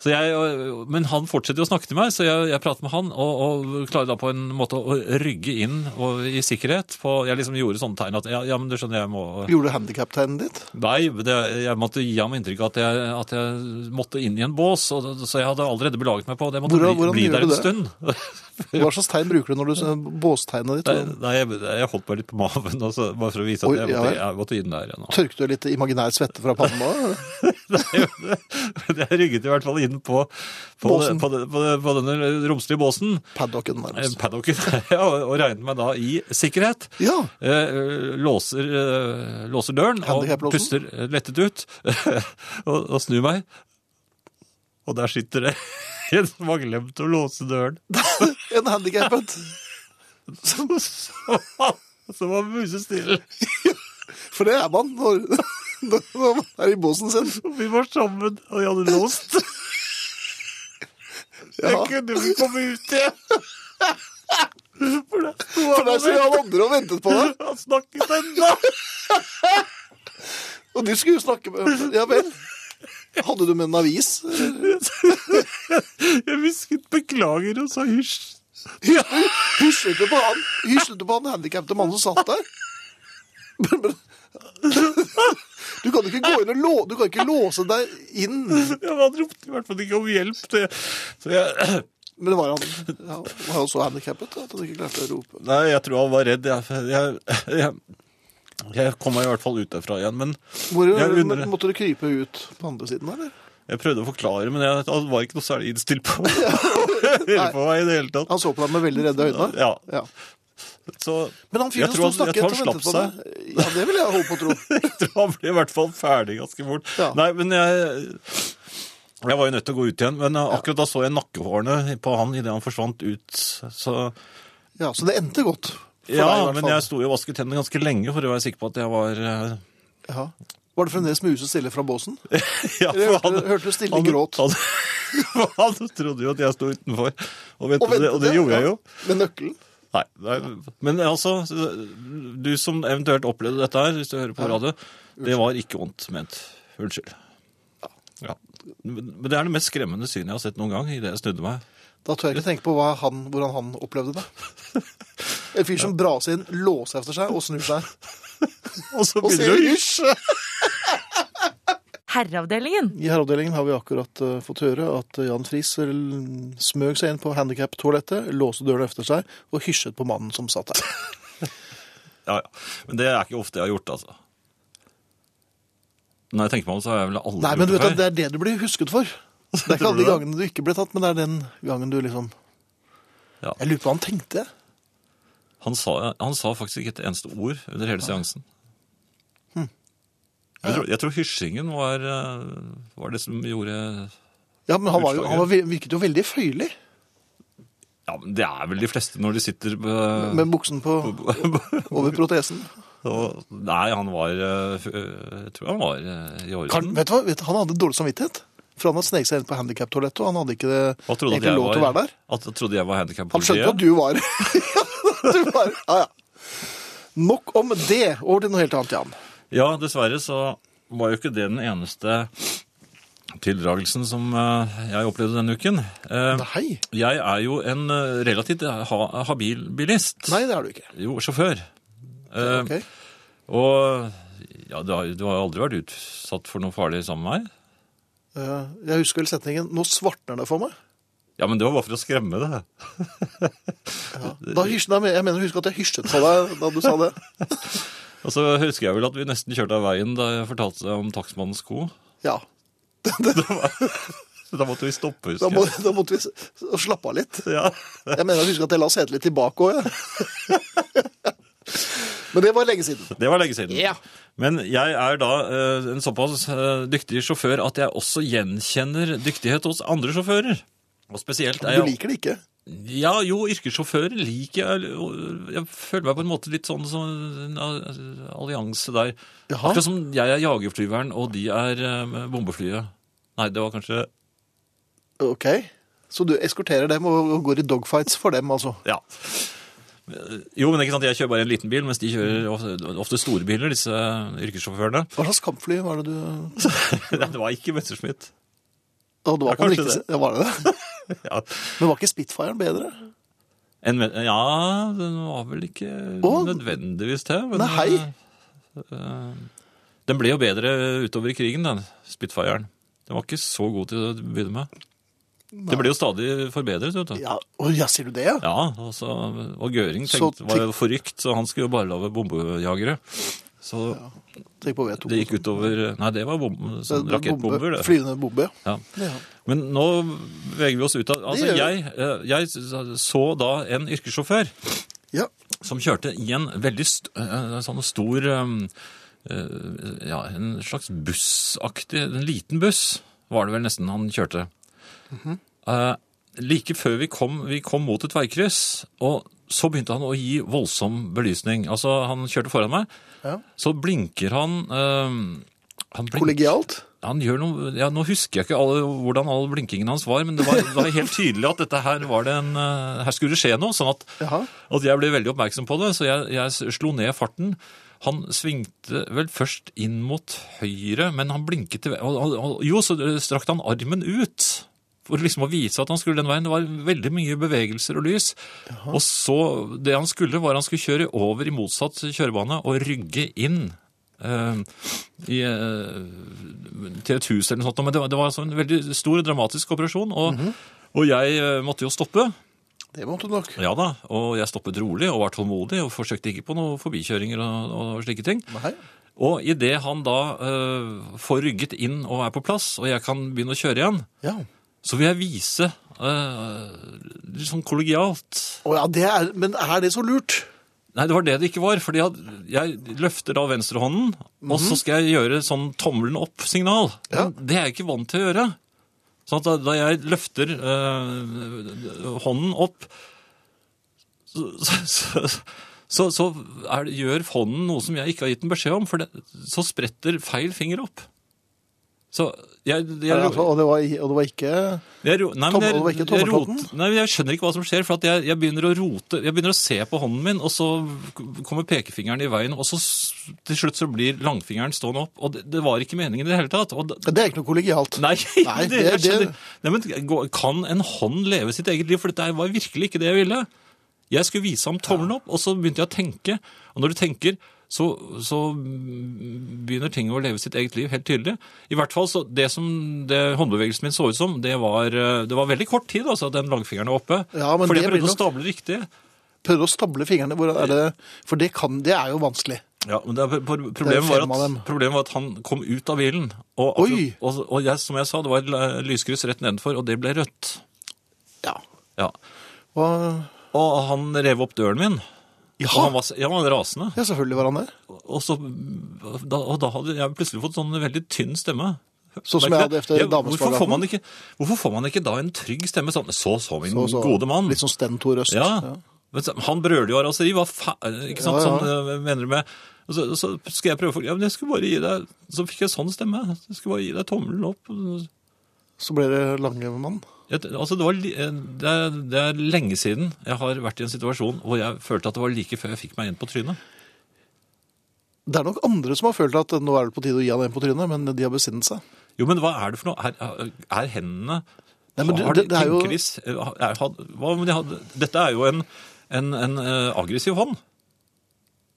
[SPEAKER 2] så jeg, Men han fortsetter jo å snakke til meg, så jeg, jeg prater med han og, og klarer da på en måte å rygge inn og, i sikkerhet. På, jeg liksom gjorde sånne tegn at ja, ja men du skjønner, jeg må
[SPEAKER 1] Gjorde du handikaptegnet ditt?
[SPEAKER 2] Nei, det, jeg måtte gi ham inntrykk av at jeg, at jeg måtte inn i en bås, og, så jeg hadde allerede belaget meg på det. Jeg måtte
[SPEAKER 1] Hvordan-
[SPEAKER 2] bli,
[SPEAKER 1] hvordan
[SPEAKER 2] bli
[SPEAKER 1] gjør
[SPEAKER 2] der
[SPEAKER 1] du
[SPEAKER 2] en
[SPEAKER 1] det?
[SPEAKER 2] stund.
[SPEAKER 1] Hva slags tegn bruker du når du båstegnet ditt?
[SPEAKER 2] Nei, nei, jeg, jeg holdt meg litt på maven, og så- bare for å vise at
[SPEAKER 1] Oi,
[SPEAKER 2] jeg
[SPEAKER 1] ja
[SPEAKER 2] måtte,
[SPEAKER 1] vel.
[SPEAKER 2] jeg måtte inn der igjen. og-
[SPEAKER 1] Tørket du litt imaginær svette fra pannen da?
[SPEAKER 2] Men jeg rygget i hvert fall inn på, på,
[SPEAKER 1] Båsen.
[SPEAKER 2] på, på, på denne romslige båsen.
[SPEAKER 1] Paddocken nærmest.
[SPEAKER 2] Eh, paddocken ja, og regnet meg da i sikkerhet.
[SPEAKER 1] Ja,
[SPEAKER 2] Eh, Låser, eh, låser døren og
[SPEAKER 1] Handicap-låsen?
[SPEAKER 2] puster lettet ut. og, og snur meg. Og der sitter det en som har glemt å låse døren.
[SPEAKER 1] en handikappet.
[SPEAKER 2] Som, som, som var musestille.
[SPEAKER 1] For det er man når, når man er i båsen sin.
[SPEAKER 2] Og vi var sammen, og jeg hadde låst.
[SPEAKER 1] Ja.
[SPEAKER 2] Jeg kunne ikke komme ut igjen. For der sto
[SPEAKER 1] For
[SPEAKER 2] han
[SPEAKER 1] der
[SPEAKER 2] og
[SPEAKER 1] sitter han andre og ventet på deg,
[SPEAKER 2] ventet. Han snakket ennå.
[SPEAKER 1] og du skulle jo snakke med Ja vel. Hadde du med en avis?
[SPEAKER 2] Jeg hvisket 'beklager' og sa 'hysj'.
[SPEAKER 1] Ja. Hyslet du på han Hyslet du på han handikappede mannen som satt der? Men- men- Du kan ikke gå inn og lå, du kan ikke låse deg inn.
[SPEAKER 2] Ja, men Han ropte i hvert fall ikke om hjelp. Det. Så jeg,
[SPEAKER 1] Men var han, ja, var han så handikappet at han ikke klarte å rope?
[SPEAKER 2] nei, jeg tror han var redd. Jeg, jeg, jeg, jeg kom meg i hvert fall ut derfra igjen. Men
[SPEAKER 1] Hvor,
[SPEAKER 2] Jeg undrer.
[SPEAKER 1] må- måtte du krype ut på andre siden, eller?
[SPEAKER 2] jeg prøvde å forklare, men jeg han var ikke noe særlig innstilt på å høre på meg i det hele tatt.
[SPEAKER 1] Han så på deg med veldig redde øyne.
[SPEAKER 2] Ja,
[SPEAKER 1] Ja.
[SPEAKER 2] så
[SPEAKER 1] Men han
[SPEAKER 2] Jeg
[SPEAKER 1] fyren sto
[SPEAKER 2] tror han-
[SPEAKER 1] og snakket
[SPEAKER 2] jeg
[SPEAKER 1] og
[SPEAKER 2] tror han
[SPEAKER 1] ventet på deg. Ja, det vil jeg håpe og tro.
[SPEAKER 2] jeg tror han ble i hvert fall ferdig ganske fort.
[SPEAKER 1] Ja.
[SPEAKER 2] Nei, men jeg... Jeg var jo nødt til å gå ut igjen, men akkurat da så jeg nakkehårene på han idet han forsvant ut. Så
[SPEAKER 1] Ja, Så det endte godt. For
[SPEAKER 2] Ja,
[SPEAKER 1] deg, i hvert
[SPEAKER 2] men
[SPEAKER 1] fall.
[SPEAKER 2] jeg sto jo og vasket hendene ganske lenge for å være sikker på at jeg var eh,
[SPEAKER 1] ja. Var det fremdeles muse stille fra båsen?
[SPEAKER 2] ja,
[SPEAKER 1] Eller hørte du- hørte du stille gråt?
[SPEAKER 2] Han, for han trodde jo at jeg sto utenfor, og, vet,
[SPEAKER 1] Og
[SPEAKER 2] du det, og det
[SPEAKER 1] ventet,
[SPEAKER 2] gjorde jeg
[SPEAKER 1] ja.
[SPEAKER 2] jo.
[SPEAKER 1] Med nøkkelen?
[SPEAKER 2] Nei, nei, men altså, du som eventuelt opplevde dette her, hvis du hører på radio, det var ikke vondt ment. Unnskyld. Ja. Men men det er det mest skremmende synet jeg har sett noen gang idet jeg snudde meg.
[SPEAKER 1] Da tør jeg ikke tenke på hva han, hvordan han opplevde det. En fyr som braser inn, låser efter seg og snur seg.
[SPEAKER 2] Og så
[SPEAKER 1] Og ser
[SPEAKER 2] begynner du å
[SPEAKER 1] hysj!
[SPEAKER 3] herreavdelingen.
[SPEAKER 1] I herreavdelingen har vi akkurat eh, fått høre at Jan Friis eh, smøg seg inn på handikaptoalettet, låste døren efter seg og hysjet på mannen som satt der.
[SPEAKER 2] Ja, ja. Men det er ikke ofte jeg har gjort, altså. Når jeg tenker meg om, så har jeg vel aldri
[SPEAKER 1] Nei, men du
[SPEAKER 2] gjort
[SPEAKER 1] vet at det
[SPEAKER 2] det
[SPEAKER 1] er det du blir husket for. Det er ikke alle de gangene du ikke ble tatt, men det er den gangen du liksom
[SPEAKER 2] Ja.
[SPEAKER 1] Jeg lurer på hva han tenkte.
[SPEAKER 2] Han sa, han sa faktisk ikke et eneste ord under hele seansen.
[SPEAKER 1] Hm.
[SPEAKER 2] Jeg, tror, jeg tror hysjingen var, eh, var det som gjorde
[SPEAKER 1] Ja, men han, var jo, han var, virket jo veldig føyelig
[SPEAKER 2] Ja, men det er vel de fleste når de sitter
[SPEAKER 1] med buksen på, over protesen.
[SPEAKER 2] og, Nei, han var eh, f- eh, Jeg tror han var eh, i
[SPEAKER 1] Kan,
[SPEAKER 2] orden.
[SPEAKER 1] vet du hva? Vet, du, han hadde dårlig samvittighet. For han hadde sneket seg inn på handikaptoalettet, og han hadde ikke det,
[SPEAKER 2] Han trodde at
[SPEAKER 1] egentlig
[SPEAKER 2] jeg
[SPEAKER 1] lov til å
[SPEAKER 2] var-
[SPEAKER 1] være der.
[SPEAKER 2] At, han trodde jeg var
[SPEAKER 1] Han skjønte jo at du var
[SPEAKER 2] handikappolitiet.
[SPEAKER 1] Ja, du var Ja, ja. Nok om det. Over til noe helt annet, Jan.
[SPEAKER 2] Ja, dessverre så var jo ikke det den eneste tildragelsen som eh, jeg opplevde denne uken. Eh,
[SPEAKER 1] Nei.
[SPEAKER 2] Jeg er jo en eh, relativt ha, habil bilist.
[SPEAKER 1] Nei, det er du ikke.
[SPEAKER 2] Jo, sjåfør. Eh,
[SPEAKER 1] Ok.
[SPEAKER 2] Og ja, du har, du har aldri vært utsatt for noe farlig sammen med meg.
[SPEAKER 1] Eh, Jeg husker vel setningen 'Nå svartner det for meg'.
[SPEAKER 2] Ja, men det var bare for å skremme det.
[SPEAKER 1] Da hysj, da, men- jeg mener å huske at jeg hysjet på deg da du sa det.
[SPEAKER 2] Og så husker jeg vel at vi nesten kjørte av veien da jeg fortalte deg om takstmannens sko.
[SPEAKER 1] Ja.
[SPEAKER 2] Så da måtte vi stoppe,
[SPEAKER 1] Da,
[SPEAKER 2] husker
[SPEAKER 1] må,
[SPEAKER 2] jeg.
[SPEAKER 1] da måtte vi s- slappe av litt.
[SPEAKER 2] Ja.
[SPEAKER 1] Jeg mener å huske at jeg la setet litt tilbake òg, jeg. Men det var lenge siden.
[SPEAKER 2] Det var lenge siden.
[SPEAKER 1] Ja.
[SPEAKER 2] Men jeg er da eh, en såpass eh, dyktig sjåfør at jeg også gjenkjenner dyktighet hos andre sjåfører. Og spesielt er
[SPEAKER 1] Du
[SPEAKER 2] jeg
[SPEAKER 1] liker det ikke?
[SPEAKER 2] Ja, jo, yrkessjåfører liker jeg. og Jeg føler meg på en måte litt sånn som en a- allianse der.
[SPEAKER 1] Jaha.
[SPEAKER 2] Akkurat som jeg er jagerflyveren, og de er eh, bombeflyet. Nei, det var kanskje
[SPEAKER 1] Ok. Så du eskorterer dem og og går i dogfights for dem, altså?
[SPEAKER 2] Ja. Jo, men ikke sant, jeg kjører bare en liten bil, mens de kjører ofte, ofte store biler, disse yrkessjåførene.
[SPEAKER 1] Hva slags kampfly var det du
[SPEAKER 2] Nei, det var ikke Messerschmitt.
[SPEAKER 1] Og det var
[SPEAKER 2] Ja,
[SPEAKER 1] på den
[SPEAKER 2] kanskje
[SPEAKER 1] riktige
[SPEAKER 2] det.
[SPEAKER 1] siden. Ja, var det det?
[SPEAKER 2] Ja.
[SPEAKER 1] Men var ikke Spitfiren bedre?
[SPEAKER 2] En, ja, den var vel ikke
[SPEAKER 1] Å.
[SPEAKER 2] nødvendigvis det. Men,
[SPEAKER 1] Nei, hei.
[SPEAKER 2] eh, Den ble jo bedre utover i krigen, den Spitfiren. Den var ikke så god til å begynne med. Det ble jo stadig forbedret, vet du.
[SPEAKER 1] Ja, å, ja sier du det, ja?
[SPEAKER 2] Ja, og, så, og Gøring
[SPEAKER 1] Så
[SPEAKER 2] tenkte, var jo forrykt, så han skulle jo bare lage bombejagere. Så
[SPEAKER 1] Tenk på V2.
[SPEAKER 2] det gikk utover Nei, det var bom, sånn
[SPEAKER 1] Det er bombe-
[SPEAKER 2] rakettbomber, det.
[SPEAKER 1] Flyvende bombe, ja.
[SPEAKER 2] Ja.
[SPEAKER 1] ja.
[SPEAKER 2] Men nå beveger vi oss ut av Altså,
[SPEAKER 1] Det gjør
[SPEAKER 2] jeg, eh, jeg så da en yrkessjåfør
[SPEAKER 1] ja.
[SPEAKER 2] som kjørte i en veldig st eh, sånn stor eh, eh, Ja, en slags bussaktig En liten buss var det vel nesten han kjørte.
[SPEAKER 1] Mhm.
[SPEAKER 2] Eh, like før vi kom, vi kom mot et veikryss, og så begynte han å gi voldsom belysning. Altså, han kjørte foran meg,
[SPEAKER 1] Ja.
[SPEAKER 2] så blinker han eh, han blink-
[SPEAKER 1] Kollegialt?
[SPEAKER 2] han gjør noe, ja, Nå husker jeg ikke alle, hvordan all blinkingen hans var, men det var, det var helt tydelig at dette her, var det en, eh, her skulle det skje noe. sånn at,
[SPEAKER 1] Jaha.
[SPEAKER 2] at jeg ble veldig oppmerksom på det, så jeg, jeg slo ned farten. Han svingte vel først inn mot høyre, men han blinket til ve- og- og- og- Jo, så strakte han armen ut for liksom å vise at han skulle den veien. Det var veldig mye bevegelser og lys. Og så, det han skulle, var han skulle kjøre over i motsatt kjørebane og rygge inn. eh, i, eh, til et hus eller noe sånt. Men det var, det var altså en veldig stor og dramatisk operasjon, og, og jeg eh, måtte jo stoppe.
[SPEAKER 1] Det måtte du nok.
[SPEAKER 2] Ja da, og jeg stoppet rolig og var tålmodig og forsøkte ikke på noen forbikjøringer og, og slike ting.
[SPEAKER 1] Nei.
[SPEAKER 2] Og idet han da eh, får rygget inn og er på plass, og jeg kan begynne å kjøre igjen,
[SPEAKER 1] Ja.
[SPEAKER 2] så vil jeg vise eh, litt sånn kollegialt
[SPEAKER 1] Å, ja, det er, men er det så lurt?
[SPEAKER 2] Nei, det var det det ikke var, fordi jeg, jeg løfter da venstrehånden, og så skal jeg gjøre sånn tommelen opp-signal.
[SPEAKER 1] Mhm. Ja.
[SPEAKER 2] Det er jeg ikke vant til å gjøre. Sånn at da, da jeg løfter eh, hånden opp, så, så, så, så er, det- gjør hånden noe som jeg ikke har gitt den beskjed om, for det, så spretter feil finger opp. Så jeg, jeg,
[SPEAKER 1] Ja, altså, og, det var, og det var ikke
[SPEAKER 2] jeg, ro- nei, men
[SPEAKER 1] Tommel-
[SPEAKER 2] jeg,
[SPEAKER 1] var ikke
[SPEAKER 2] jeg,
[SPEAKER 1] tommeltotten?
[SPEAKER 2] rot- nei, men jeg skjønner ikke hva som skjer, for at jeg, jeg begynner å rote, jeg begynner å se på hånden min, og så k- kommer pekefingeren i veien, og så s- til slutt så blir langfingeren stående opp, og det, det var ikke meningen i det hele tatt. Og da,
[SPEAKER 1] Det er ikke noe kollegialt.
[SPEAKER 2] nei,
[SPEAKER 1] Nei,
[SPEAKER 2] det, jeg
[SPEAKER 1] det- det-
[SPEAKER 2] skjønner. Nei, men gå- kan en hånd leve sitt eget liv? For dette var virkelig ikke det jeg ville. Jeg skulle vise ham tommelen opp, og så begynte jeg å tenke, og når du tenker, så, så begynner ting å leve sitt eget liv helt tydelig. I hvert fall så det som det håndbevegelsen min så ut som, det var, eh, det var veldig kort tid altså, at den langfingeren var oppe.
[SPEAKER 1] Ja, men
[SPEAKER 2] fordi
[SPEAKER 1] det
[SPEAKER 2] jeg prøvde
[SPEAKER 1] blir
[SPEAKER 2] å stable riktig.
[SPEAKER 1] Prøve å stable fingrene. Hvordan er det? For det, kan, det er jo vanskelig.
[SPEAKER 2] Ja, men det, er- pro-
[SPEAKER 1] Det er
[SPEAKER 2] problemet, var
[SPEAKER 1] fem av dem.
[SPEAKER 2] at, problemet var at han kom ut av bilen. Og,
[SPEAKER 1] Oi!
[SPEAKER 2] og, og jeg, som jeg sa, det var et la- lyskryss rett nedenfor, og det ble rødt.
[SPEAKER 1] Ja.
[SPEAKER 2] Ja.
[SPEAKER 1] Og,
[SPEAKER 2] Og han rev opp døren min.
[SPEAKER 1] ja.
[SPEAKER 2] Og han var, s- ja, han var rasende.
[SPEAKER 1] ja, selvfølgelig var han det.
[SPEAKER 2] Og, så, da, og da hadde jeg plutselig fått sånn veldig tynn stemme.
[SPEAKER 1] Sånn som jeg
[SPEAKER 2] Merker
[SPEAKER 1] hadde
[SPEAKER 2] det?
[SPEAKER 1] efter
[SPEAKER 2] Ja,
[SPEAKER 1] Damespagaten.
[SPEAKER 2] Hvorfor får man ikke, hvorfor får man ikke da en trygg stemme sånn? Så, så, min
[SPEAKER 1] Og så-
[SPEAKER 2] gode mann.
[SPEAKER 1] Litt sånn Stentor Øst.
[SPEAKER 2] Ja. Men så- han brøler jo av raseri. Hva fa... Ikke sant?
[SPEAKER 1] Ja, ja.
[SPEAKER 2] Sånn, eh, mener du med og så, så skal jeg prøve å forklare. Ja, men jeg skulle bare gi deg Så fikk jeg sånn stemme. Jeg skulle bare gi deg tommelen opp.
[SPEAKER 1] Så ble det Langemann.
[SPEAKER 2] Jeg, altså, det, var, li- eh, det, er, det er lenge siden jeg har vært i en situasjon hvor jeg følte at det var like før jeg fikk meg en på trynet.
[SPEAKER 1] Det er nok andre som har følt at nå er det på tide å gi han en på trynet, men de har besinnet seg.
[SPEAKER 2] Jo, men hva er det for noe? Er, er hendene
[SPEAKER 1] Nei, men du-
[SPEAKER 2] Har de
[SPEAKER 1] det- det er jo-
[SPEAKER 2] tenkevis? Er, had, hva, om de hadde, dette er jo en, en, en eh, aggressiv hånd.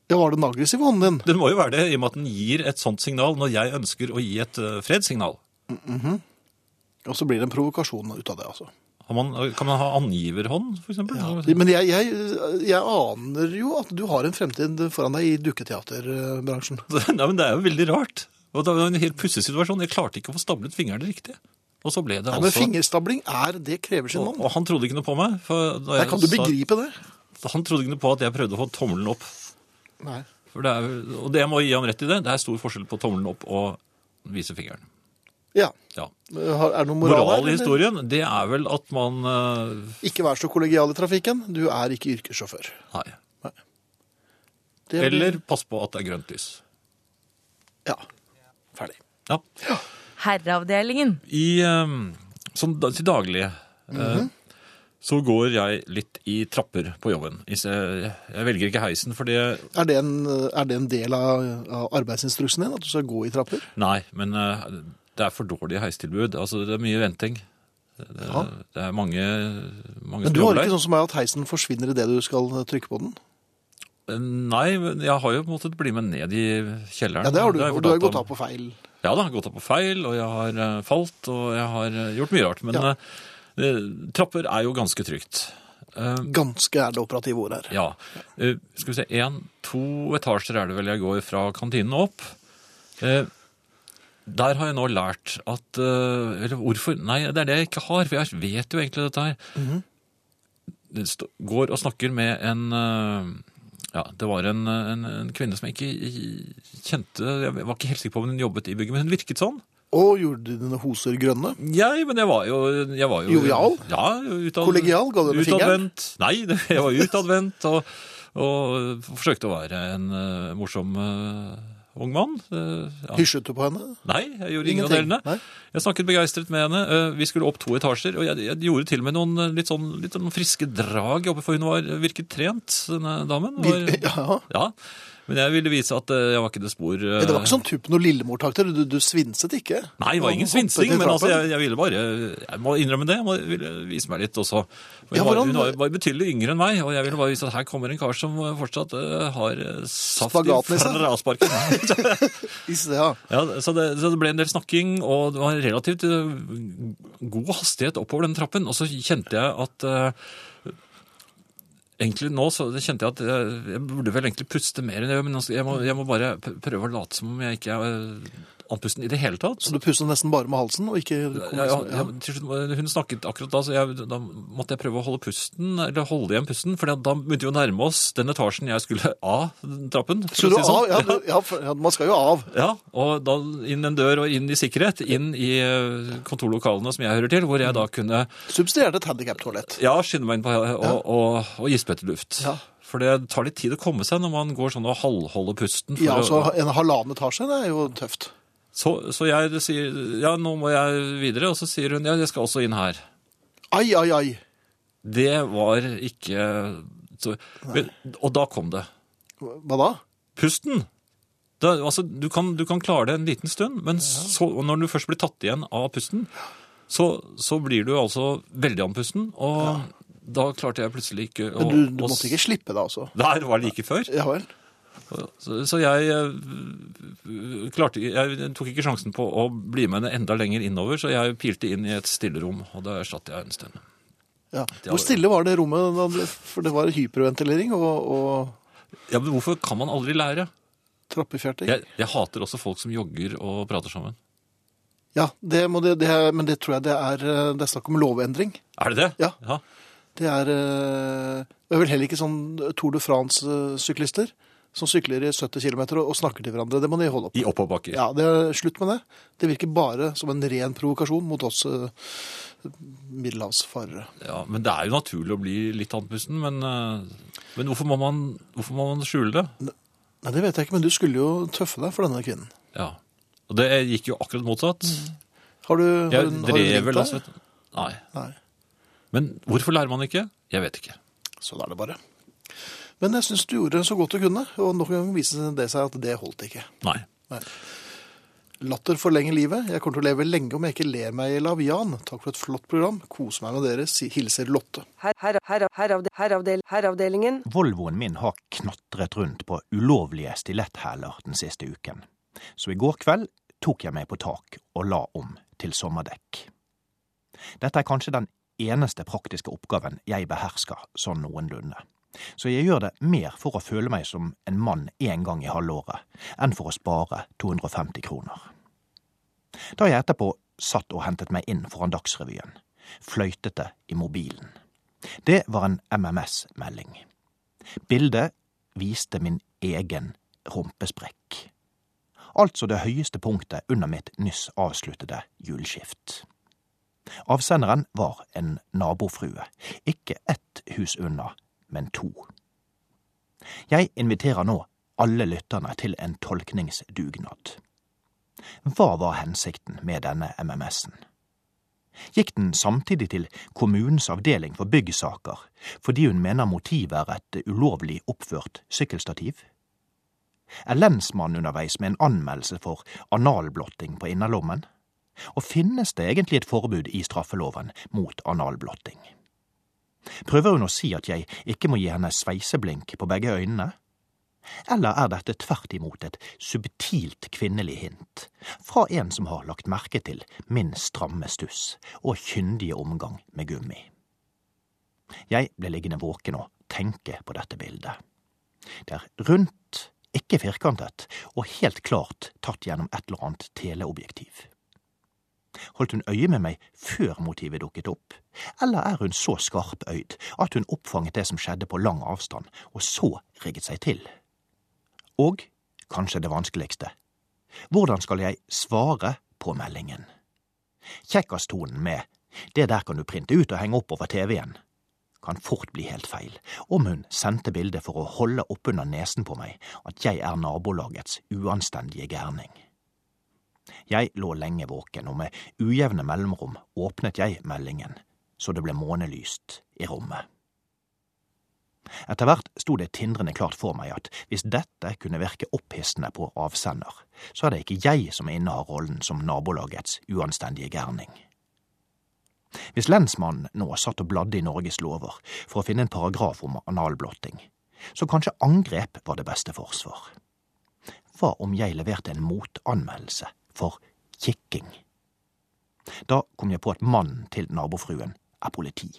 [SPEAKER 1] Ja, var det en aggressiv hånd din?
[SPEAKER 2] Den må jo være det, i og med at den gir et sånt signal når jeg ønsker å gi et eh, fredssignal.
[SPEAKER 1] Og så blir det en provokasjon ut av det, altså.
[SPEAKER 2] Har man, eh, kan man ha angiverhånd, for eksempel?
[SPEAKER 1] Men jeg, jeg, jeg aner jo at du har en fremtid foran deg i dukketeaterbransjen.
[SPEAKER 2] Nei, men det er jo veldig rart. Og det var en helt pussig situasjon. Jeg klarte ikke å få stablet fingrene riktig. Og så ble det
[SPEAKER 1] Nei, men
[SPEAKER 2] altså...
[SPEAKER 1] fingerstabling er Det krever sin
[SPEAKER 2] og,
[SPEAKER 1] mann.
[SPEAKER 2] og han trodde ikke noe på meg. For da
[SPEAKER 1] Nei,
[SPEAKER 2] jeg
[SPEAKER 1] kan du
[SPEAKER 2] sa-
[SPEAKER 1] begripe det?
[SPEAKER 2] Han trodde ikke noe på at jeg prøvde å få tommelen opp.
[SPEAKER 1] Nei.
[SPEAKER 2] For det er, jo- og det jeg må gi ham rett i det, det er stor forskjell på tommelen opp og vise fingeren.
[SPEAKER 1] Ja.
[SPEAKER 2] Ja.
[SPEAKER 1] Har- Er det noe moral,
[SPEAKER 2] Moral,
[SPEAKER 1] her,
[SPEAKER 2] i
[SPEAKER 1] eller?
[SPEAKER 2] historien, det er vel at man eh,
[SPEAKER 1] Ikke vær så kollegial i trafikken. Du er ikke yrkessjåfør.
[SPEAKER 2] Nei.
[SPEAKER 1] Det er-
[SPEAKER 2] Eller pass på at det er grønt lys.
[SPEAKER 1] Ja. Ferdig.
[SPEAKER 2] Ja.
[SPEAKER 3] Herreavdelingen.
[SPEAKER 2] I, ehm, sånn da- til daglig eh,
[SPEAKER 1] Mhm.
[SPEAKER 2] så går jeg litt i trapper på jobben. Hvis Jeg jeg velger ikke heisen, for det
[SPEAKER 1] Er det en, er det en del av, av arbeidsinstruksen din? At du skal gå i trapper?
[SPEAKER 2] Nei, men eh, det er for dårlig heistilbud. Altså, det er mye venting. Det,
[SPEAKER 1] Ja.
[SPEAKER 2] det er mange, mange
[SPEAKER 1] Men
[SPEAKER 2] som
[SPEAKER 1] du har
[SPEAKER 2] jobber
[SPEAKER 1] ikke
[SPEAKER 2] der.
[SPEAKER 1] sånn som meg at heisen forsvinner idet du skal trykke på den?
[SPEAKER 2] Eh, Nei, men jeg har jo måttet bli med ned i kjelleren.
[SPEAKER 1] Ja, det har du.
[SPEAKER 2] jeg
[SPEAKER 1] Og du har
[SPEAKER 2] fortalt
[SPEAKER 1] gått
[SPEAKER 2] om.
[SPEAKER 1] av på feil.
[SPEAKER 2] Ja da, gått opp på feil, og jeg har eh, falt, og jeg har eh, gjort mye rart. Men
[SPEAKER 1] Ja.
[SPEAKER 2] eh, eh, trapper er jo ganske trygt. Eh,
[SPEAKER 1] Ganske er det operative ordet her.
[SPEAKER 2] Ja. Eh, skal vi se, en, to etasjer er det vel jeg går fra kantinen og opp. Eh, der har jeg nå lært at eh, Eller hvorfor? Nei, det er det jeg ikke har, for jeg vet jo egentlig dette her. Det sto- Går og snakker med en eh, ja, Det var en, en, en kvinne som jeg ikke i- kjente Jeg var ikke helt sikker på om hun jobbet i bygget, men hun virket sånn.
[SPEAKER 1] Og gjorde dine hoser grønne?
[SPEAKER 2] Jeg, men jeg var jo, jeg var jo
[SPEAKER 1] Jovial?
[SPEAKER 2] Ja, utad,
[SPEAKER 1] Kollegial? Ga du henne fingeren?
[SPEAKER 2] Utadvendt. Nei, det- jeg var utadvendt og, og forsøkte å være en eh, morsom eh, ung mann. Eh, ja.
[SPEAKER 1] Hysjet du på henne?
[SPEAKER 2] Nei, jeg gjorde ingen av
[SPEAKER 1] Ingenting,
[SPEAKER 2] delene.
[SPEAKER 1] nei.
[SPEAKER 2] Jeg snakket begeistret med henne. Eh, vi skulle opp to etasjer, og jeg, jeg gjorde til og med noen eh, litt sånn, litt sånn friske drag oppe, for hun var, virket trent, denne damen. Var,
[SPEAKER 1] Vir- Ja.
[SPEAKER 2] ja. Men jeg ville vise at eh, jeg var ikke det spor eh,
[SPEAKER 1] Men det var ikke sånn typen noe Lillemor-takter? Du, du svinset ikke?
[SPEAKER 2] Nei, det var ingen
[SPEAKER 1] Hoppet i
[SPEAKER 2] svinsing, men
[SPEAKER 1] trappen.
[SPEAKER 2] altså, jeg, jeg ville bare Jeg må innrømme det. Jeg må, ville vise meg litt også. Hun,
[SPEAKER 1] Ja,
[SPEAKER 2] var,
[SPEAKER 1] hvordan-
[SPEAKER 2] hun var, var betydelig yngre enn meg, og jeg ville bare vise at her kommer en kar som fortsatt eh, har eh, saft
[SPEAKER 1] Spagaten i
[SPEAKER 2] i
[SPEAKER 1] seg.
[SPEAKER 2] frasparken.
[SPEAKER 1] Is- Ja.
[SPEAKER 2] ja, så, det, så det ble en del snakking, og det var relativt eh, god hastighet oppover den trappen. Og så kjente jeg at eh, Egentlig nå så kjente jeg at jeg, jeg burde vel egentlig puste mer enn jeg gjør, men jeg må, jeg må bare pr- prøve å late som om jeg ikke er eh, andpusten i det hele tatt.
[SPEAKER 1] Så du pustet nesten bare med halsen? og ikke... liksom-
[SPEAKER 2] Ja, ja, ja, til slutt, var- hun snakket akkurat da, så jeg, da måtte jeg prøve å holde pusten, eller holde igjen pusten, for da begynte vi å nærme oss den etasjen jeg skulle av den trappen. for
[SPEAKER 1] Skulle
[SPEAKER 2] å
[SPEAKER 1] du
[SPEAKER 2] si det
[SPEAKER 1] av?
[SPEAKER 2] sånn.
[SPEAKER 1] Ja, du- ja, for- ja, man skal jo av.
[SPEAKER 2] Ja, og da inn en dør og inn i sikkerhet, inn i eh, kontorlokalene som jeg hører til, hvor jeg da kunne
[SPEAKER 1] Substituert et handikap-toalett.
[SPEAKER 2] ja, skynde meg inn på og, og, og gispe etter luft.
[SPEAKER 1] Ja.
[SPEAKER 2] For det tar litt tid å komme seg når man går sånn og halvholder pusten. for
[SPEAKER 1] Ja,
[SPEAKER 2] å-
[SPEAKER 1] altså en halvannen etasje, det er jo tøft.
[SPEAKER 2] så, så jeg sier, ja, nå må jeg videre, og så sier hun, ja, jeg skal også inn her.
[SPEAKER 1] Ai, ai, ai.
[SPEAKER 2] Det var ikke så, men, Og da kom det.
[SPEAKER 1] Hva da?
[SPEAKER 2] Pusten! Da, altså, du, kan, du kan klare det en liten stund, men så, og når du først blir tatt igjen av pusten, så, så blir du altså veldig andpusten, og da klarte jeg plutselig ikke å
[SPEAKER 1] Men du, du
[SPEAKER 2] å-
[SPEAKER 1] måtte ikke slippe deg, altså?
[SPEAKER 2] Nei, det var like før.
[SPEAKER 1] Ja vel.
[SPEAKER 2] Så, så jeg, eh, klarte, jeg tok ikke sjansen på å bli med henne enda lenger innover, så jeg pilte inn i et stillerom, og det erstatte jeg en stund.
[SPEAKER 1] Ja. Hvor stille var det rommet? da du- For det var hyperventilering og, og
[SPEAKER 2] Ja, men hvorfor kan man aldri lære?
[SPEAKER 1] trappefjerting.
[SPEAKER 2] Jeg, jeg hater også folk som jogger og prater sammen.
[SPEAKER 1] Ja, det må det, det er, men det tror jeg det er, eh, det er snakk om lovendring.
[SPEAKER 2] Er det det?
[SPEAKER 1] Ja. Det er, eh, det er vel heller ikke sånn Tour de France-syklister eh, som sykler i 70 km og, og snakker til hverandre. Det må de holde opp.
[SPEAKER 2] I oppoverbakker.
[SPEAKER 1] Ja, det er slutt med det. Det virker bare som en ren provokasjon mot oss eh, middelhavsfarere.
[SPEAKER 2] Ja, men det er jo naturlig å bli litt andpusten, men, eh, men hvorfor, må man, hvorfor må man skjule det?
[SPEAKER 1] Nei, det vet jeg ikke, men du skulle jo tøffe deg for denne kvinnen.
[SPEAKER 2] Ja. Og det gikk jo akkurat motsatt.
[SPEAKER 1] Har du, Mm. har
[SPEAKER 2] Jeg
[SPEAKER 1] hun, har hun
[SPEAKER 2] drev
[SPEAKER 1] ringt
[SPEAKER 2] vel
[SPEAKER 1] deg?
[SPEAKER 2] altså Nei.
[SPEAKER 1] Nei,
[SPEAKER 2] Men hvorfor lærer man ikke? Jeg vet ikke.
[SPEAKER 1] sånn er det bare. Men jeg syns du gjorde så godt du kunne, og nok en gang viser det seg at det holdt ikke.
[SPEAKER 2] Nei.
[SPEAKER 1] Latter forlenger livet. Jeg kommer til å leve lenge om jeg ikke ler meg i lav. Jan, takk for et flott program. Kos meg med dere. si- Hilser Lotte.
[SPEAKER 4] Her, her, her, heravde, heravdel, heravdelingen.
[SPEAKER 6] Volvoen min har knatret rundt på ulovlige stiletthæler den siste uken. Så i går kveld tok jeg meg på tak og la om til sommerdekk. Dette er kanskje den eneste praktiske oppgaven jeg behersker sånn noenlunde. Så jeg gjør det mer for å føle meg som en mann én gang i halvåret, enn for å spare 250 kroner. Da jeg etterpå satt og hentet meg inn foran Dagsrevyen, fløytet det i mobilen. Det var en MMS-melding. Bildet viste min egen rumpesprekk. Altså det høyeste punktet under mitt nyss avsluttede hjulskift. Avsenderen var en nabofrue, ikke ett hus unna, men to. Jeg inviterer nå alle lytterne til en tolkningsdugnad. Hva var hensikten med denne MMS-en? gikk den samtidig til kommunens avdeling for byggsaker, fordi hun mener motivet er et ulovlig oppført sykkelstativ? Er lensmannen underveis med en anmeldelse for analblotting på innerlommen? Og finnes det egentlig et forbud i straffeloven mot analblotting? Prøver hun å si at jeg ikke må gi henne sveiseblink på begge øynene? Eller er dette tvert imot et subtilt kvinnelig hint fra en som har lagt merke til min stramme stuss og kyndige omgang med gummi? Jeg ble liggende våken og tenke på dette bildet. Det er rundt, ikke firkantet, og helt klart tatt gjennom et eller annet teleobjektiv. Holdt hun øye med meg før motivet dukket opp, eller er hun så skarpøyd at hun oppfanget det som skjedde på lang avstand, og så rigget seg til? Og, kanskje det vanskeligste, hvordan skal jeg svare på meldingen? Kjekkastonen med det der kan du printe ut og henge opp over TV-en kan fort bli helt feil, om hun sendte bildet for å holde oppunder nesen på meg at jeg er nabolagets uanstendige gærning. Jeg lå lenge våken, og med ujevne mellomrom åpnet jeg meldingen, så det ble månelyst i rommet. Etter hvert sto det tindrende klart for meg at hvis dette kunne virke opphissende på avsender, så er det ikke jeg som innehar rollen som nabolagets uanstendige gærning. Hvis lensmannen nå satt og bladde i Norges lover for å finne en paragraf om analblotting, så kanskje angrep var det beste forsvar. Hva om jeg leverte en motanmeldelse for kikking? Da kom jeg på at mannen til nabofruen er politi.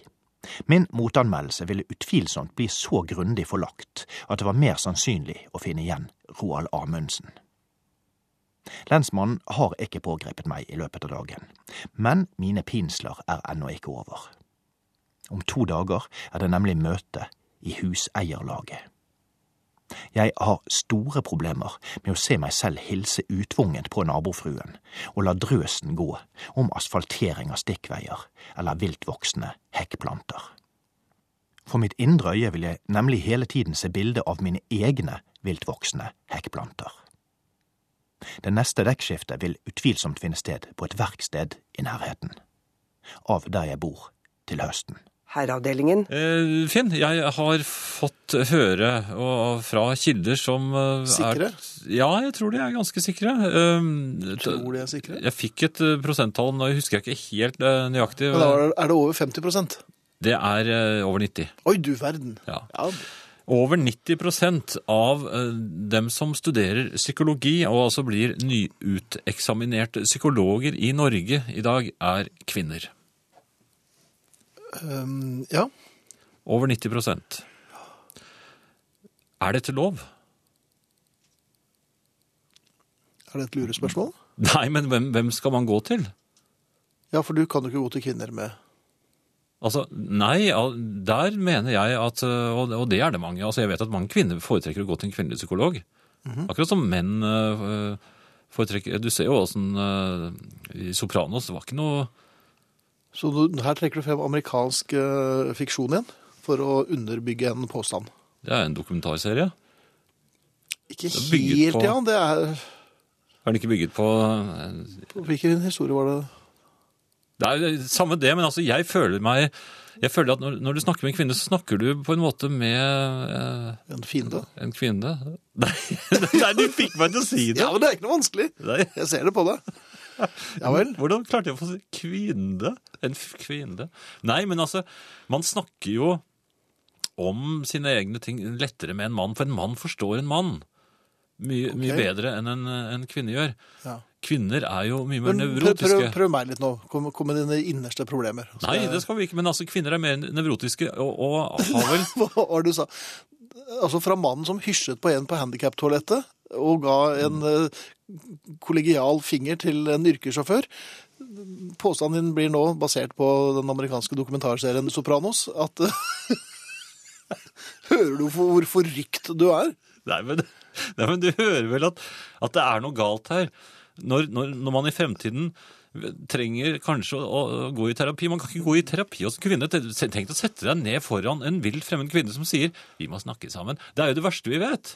[SPEAKER 6] Min motanmeldelse ville utvilsomt bli så grundig forlagt at det var mer sannsynlig å finne igjen Roald Amundsen. Lensmannen har ikke pågrepet meg i løpet av dagen, men mine pinsler er ennå ikke over. Om to dager er det nemlig møte i Huseierlaget. Jeg har store problemer med å se meg selv hilse utvungent på nabofruen og la drøsen gå om asfaltering av stikkveier eller viltvoksende hekkplanter. For mitt indre øye vil jeg nemlig hele tiden se bilde av mine egne viltvoksende hekkplanter. Det neste dekkskiftet vil utvilsomt finne sted på et verksted i nærheten. Av der jeg bor til høsten.
[SPEAKER 4] Herreavdelingen.
[SPEAKER 2] Eh, Finn, jeg har fått høre og, fra kilder som eh,
[SPEAKER 1] Sikre?
[SPEAKER 2] Er, ja, jeg tror de er ganske sikre. Eh,
[SPEAKER 1] Tror de er sikre?
[SPEAKER 2] Jeg fikk et eh, prosenttall, nå husker jeg ikke helt eh, nøyaktig.
[SPEAKER 1] Men da er det- er det over 50
[SPEAKER 2] Det er eh, over 90.
[SPEAKER 1] Oi, du verden.
[SPEAKER 2] Ja. Over 90 av eh, dem som studerer psykologi, og altså blir nyuteksaminerte psykologer i Norge i dag, er kvinner.
[SPEAKER 1] Um, ja.
[SPEAKER 2] Over 90 Er dette lov?
[SPEAKER 1] Er det et lurespørsmål?
[SPEAKER 2] Nei, men hvem, hvem skal man gå til?
[SPEAKER 1] Ja, for du kan jo ikke gå til kvinner med
[SPEAKER 2] Altså, nei, al- der mener jeg at øh, Og og det er det mange. Altså, jeg vet at mange kvinner foretrekker å gå til en kvinnelig psykolog. Akkurat som menn øh, øh, foretrekker Du ser jo åssen øh, I Sopranos det var ikke noe
[SPEAKER 1] Så du, her trekker du frem amerikansk eh, fiksjon igjen for å underbygge en påstand.
[SPEAKER 2] Det er en dokumentarserie.
[SPEAKER 1] Ikke
[SPEAKER 2] er bygget
[SPEAKER 1] helt,
[SPEAKER 2] på-
[SPEAKER 1] ja. Det er
[SPEAKER 2] Er den ikke bygget på øh,
[SPEAKER 1] på Hvilken historie var det?
[SPEAKER 2] Det er jo samme det, men altså, jeg føler meg jeg føler at når, når du snakker med en kvinne, så snakker du på en måte med øh,
[SPEAKER 1] En fiende?
[SPEAKER 2] en kvinne. Nei, nei, du fikk meg til å si det!
[SPEAKER 1] Ja, men det er ikke noe vanskelig.
[SPEAKER 2] Nei.
[SPEAKER 1] Jeg ser det på deg. Ja vel.
[SPEAKER 2] Hvordan klarte jeg å få si kvinne? En f- kvinne? Nei, men altså, man snakker jo om sine egne ting lettere med en mann, for en mann forstår en mann mye, mye
[SPEAKER 1] Ok.
[SPEAKER 2] bedre enn en, en kvinne gjør.
[SPEAKER 1] Ja.
[SPEAKER 2] Kvinner er jo mye mer
[SPEAKER 1] Men prøv,
[SPEAKER 2] nevrotiske.
[SPEAKER 1] prøv, prøv meg litt nå. Kom, kom med dine innerste problemer. Så
[SPEAKER 2] Nei,
[SPEAKER 1] jeg-
[SPEAKER 2] det skal vi ikke, men altså, kvinner er mer nevrotiske og, og har vel
[SPEAKER 1] Hva var det du sa? Altså fra mannen som hysjet på en på handicap-toalettet og ga en
[SPEAKER 2] Mm.
[SPEAKER 1] eh, kollegial finger til en yrkessjåfør. Påstanden din blir nå basert på den amerikanske dokumentarserien Sopranos. At eh, Hører du for hvor forrykt du er?
[SPEAKER 2] Nei, men, nei, men du hører vel at, at det er noe galt her. Når, når, når man i fremtiden trenger kanskje å, å gå i terapi. Man kan ikke gå i terapi hos en kvinne. Tenk å sette deg ned foran en vilt fremmed kvinne som sier 'vi må snakke sammen'. Det er jo det verste vi vet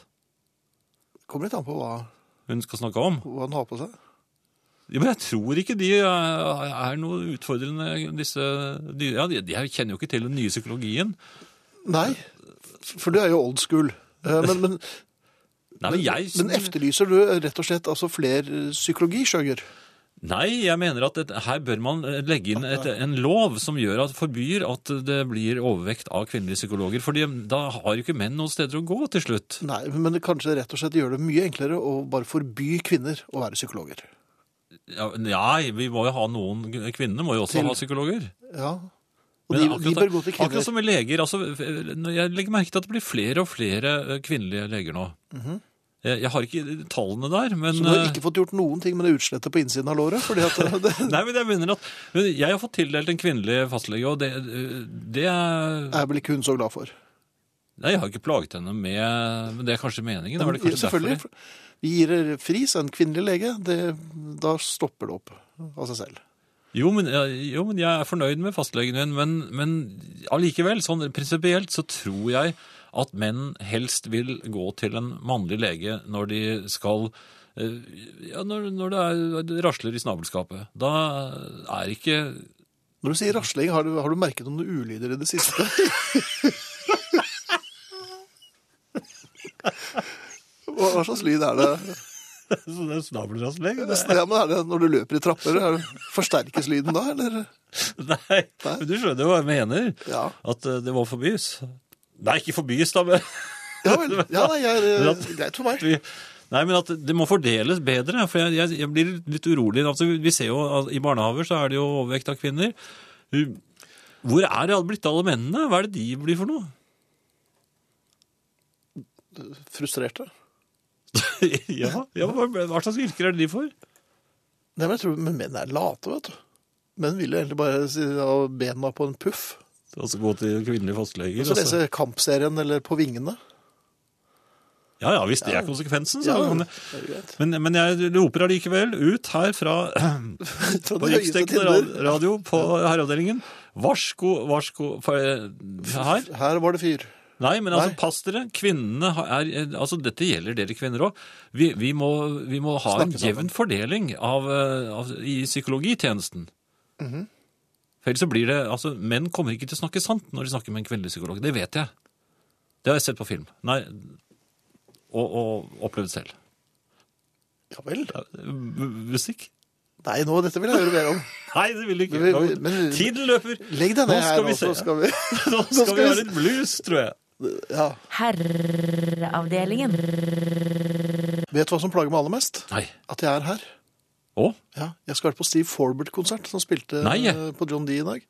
[SPEAKER 1] Kommer litt an på hva,
[SPEAKER 2] hun skal snakke om.
[SPEAKER 1] hva han har på seg.
[SPEAKER 2] Ja, men jeg tror ikke de eh, er noe utfordrende, disse de, ja, de, de kjenner jo ikke til den nye psykologien.
[SPEAKER 1] Nei, for du er jo old school. Eh, Men, men,
[SPEAKER 2] Nei,
[SPEAKER 1] men,
[SPEAKER 2] men jeg...
[SPEAKER 1] men efterlyser du rett og slett altså flere psykologisjøger?
[SPEAKER 2] Nei, jeg mener at dette- her bør man eh, legge inn et, en lov som gjør at forbyr at det blir overvekt av kvinnelige psykologer. fordi da har jo ikke menn noen steder å gå til slutt.
[SPEAKER 1] Nei, men kanskje rett og slett gjør det mye enklere å bare forby kvinner å være psykologer.
[SPEAKER 2] Ja, Nei, vi må jo ha noen Kvinnene må jo også
[SPEAKER 1] Til-
[SPEAKER 2] ha psykologer.
[SPEAKER 1] Ja. Og
[SPEAKER 2] Men
[SPEAKER 1] de, de
[SPEAKER 2] akkurat-
[SPEAKER 1] bør gå til
[SPEAKER 2] Akkurat
[SPEAKER 1] kvinner.
[SPEAKER 2] som med leger. altså, når Jeg legger merke til at det blir flere og flere eh, kvinnelige leger nå. Jeg jeg har ikke tallene der, men
[SPEAKER 1] Mhm. Så du har
[SPEAKER 2] eh,
[SPEAKER 1] ikke fått gjort noen ting med det utslettet på innsiden av låret? Fordi at eh, det,
[SPEAKER 2] Nei, men jeg mener at men Jeg har fått tildelt en kvinnelig fastlege, og det, eh, det er-
[SPEAKER 1] er vel ikke hun så glad for.
[SPEAKER 2] Nei, jeg har ikke plaget henne med Men det er kanskje meningen? var det
[SPEAKER 1] Men
[SPEAKER 2] kanskje
[SPEAKER 1] Selvfølgelig.
[SPEAKER 2] derfor?
[SPEAKER 1] Vi gir dere fris en kvinnelig lege, det, da stopper det opp av seg selv.
[SPEAKER 2] Jo men, jo, men jeg er fornøyd med fastlegen min, men, men allikevel, sånn prinsipielt, så tror jeg at menn helst vil gå til en mannlig lege når de skal eh, Ja, når, når det er, det rasler i snabelskapet. Da er ikke
[SPEAKER 1] Når du sier rasling, har du, har du merket noen ulyder i det siste? Hva hva slags lyd er det?
[SPEAKER 2] Så det er snabelrasling?
[SPEAKER 1] Ja, men er det når du løper i trapper? er det- Forsterkes lyden da, eller?
[SPEAKER 2] Nei, men du skjønner jo hva jeg mener.
[SPEAKER 1] Ja.
[SPEAKER 2] At eh, det må forbys. Nei, ikke forbys, da, men
[SPEAKER 1] Ja vel. Ja, nei, jeg, eh,
[SPEAKER 2] Men at-
[SPEAKER 1] greit for meg.
[SPEAKER 2] Vi- Nei, men at det må fordeles bedre, for jeg, jeg, jeg blir litt urolig. Altså, vi ser jo at i barnehaver så er det jo overvekt av kvinner. Hvor er det blitt av alle mennene? Hva er det de blir for noe?
[SPEAKER 1] Frustrerte.
[SPEAKER 2] ja, ja, hva, hva slags yrker er det de for?
[SPEAKER 1] Nei, men jeg tror men menn er late, vet du. Menn vil jo egentlig bare si- ha bena på en puff.
[SPEAKER 2] Altså gå til kvinnelige fastleger.
[SPEAKER 1] Og så
[SPEAKER 2] altså.
[SPEAKER 1] lese Kampserien eller På vingene.
[SPEAKER 2] Ja, ja, hvis det er konsekvensen, så.
[SPEAKER 1] Ja,
[SPEAKER 2] kan det-
[SPEAKER 1] det er greit.
[SPEAKER 2] Men, men jeg roper allikevel ut her fra
[SPEAKER 1] Fra
[SPEAKER 2] på
[SPEAKER 1] de høyeste
[SPEAKER 2] riksdekkende
[SPEAKER 1] tinder.
[SPEAKER 2] rad- radio på herreavdelingen. Varsko, varsko for, eh, Her.
[SPEAKER 1] Her var det fyr.
[SPEAKER 2] Nei, men altså,
[SPEAKER 1] Nei.
[SPEAKER 2] pass dere. Kvinnene har- er Altså, dette gjelder dere kvinner òg. Vi, vi, må- vi må ha en
[SPEAKER 1] Snakke sammen.
[SPEAKER 2] jevn fordeling av, eh, av, i psykologitjenesten.
[SPEAKER 1] Mhm.
[SPEAKER 2] For ellers så blir det Altså, menn kommer ikke til å snakke sant når de snakker med en kvinnelig psykolog. Det vet jeg. Det har jeg sett på film. Nei, og, og opplevd selv.
[SPEAKER 1] Ja vel.
[SPEAKER 2] Ja, m- Musikk?
[SPEAKER 1] Nei, nå, dette vil jeg høre mer om.
[SPEAKER 2] Nei, det vil jeg ikke.
[SPEAKER 1] Men- men-
[SPEAKER 2] Tiden løper.
[SPEAKER 1] Legg deg ned
[SPEAKER 2] Nå skal
[SPEAKER 1] her,
[SPEAKER 2] vi
[SPEAKER 1] nå, så
[SPEAKER 2] se.
[SPEAKER 1] skal vi
[SPEAKER 2] Nå skal vi ha litt blues, tror jeg.
[SPEAKER 1] Ja.
[SPEAKER 3] Herreavdelingen.
[SPEAKER 1] Vet du hva som plager meg aller mest?
[SPEAKER 2] Nei.
[SPEAKER 1] At jeg er her.
[SPEAKER 2] Å?
[SPEAKER 1] Ja, jeg skal være på Steve Forbert-konsert, som spilte
[SPEAKER 2] Nei, jeg.
[SPEAKER 1] eh, på John D i dag.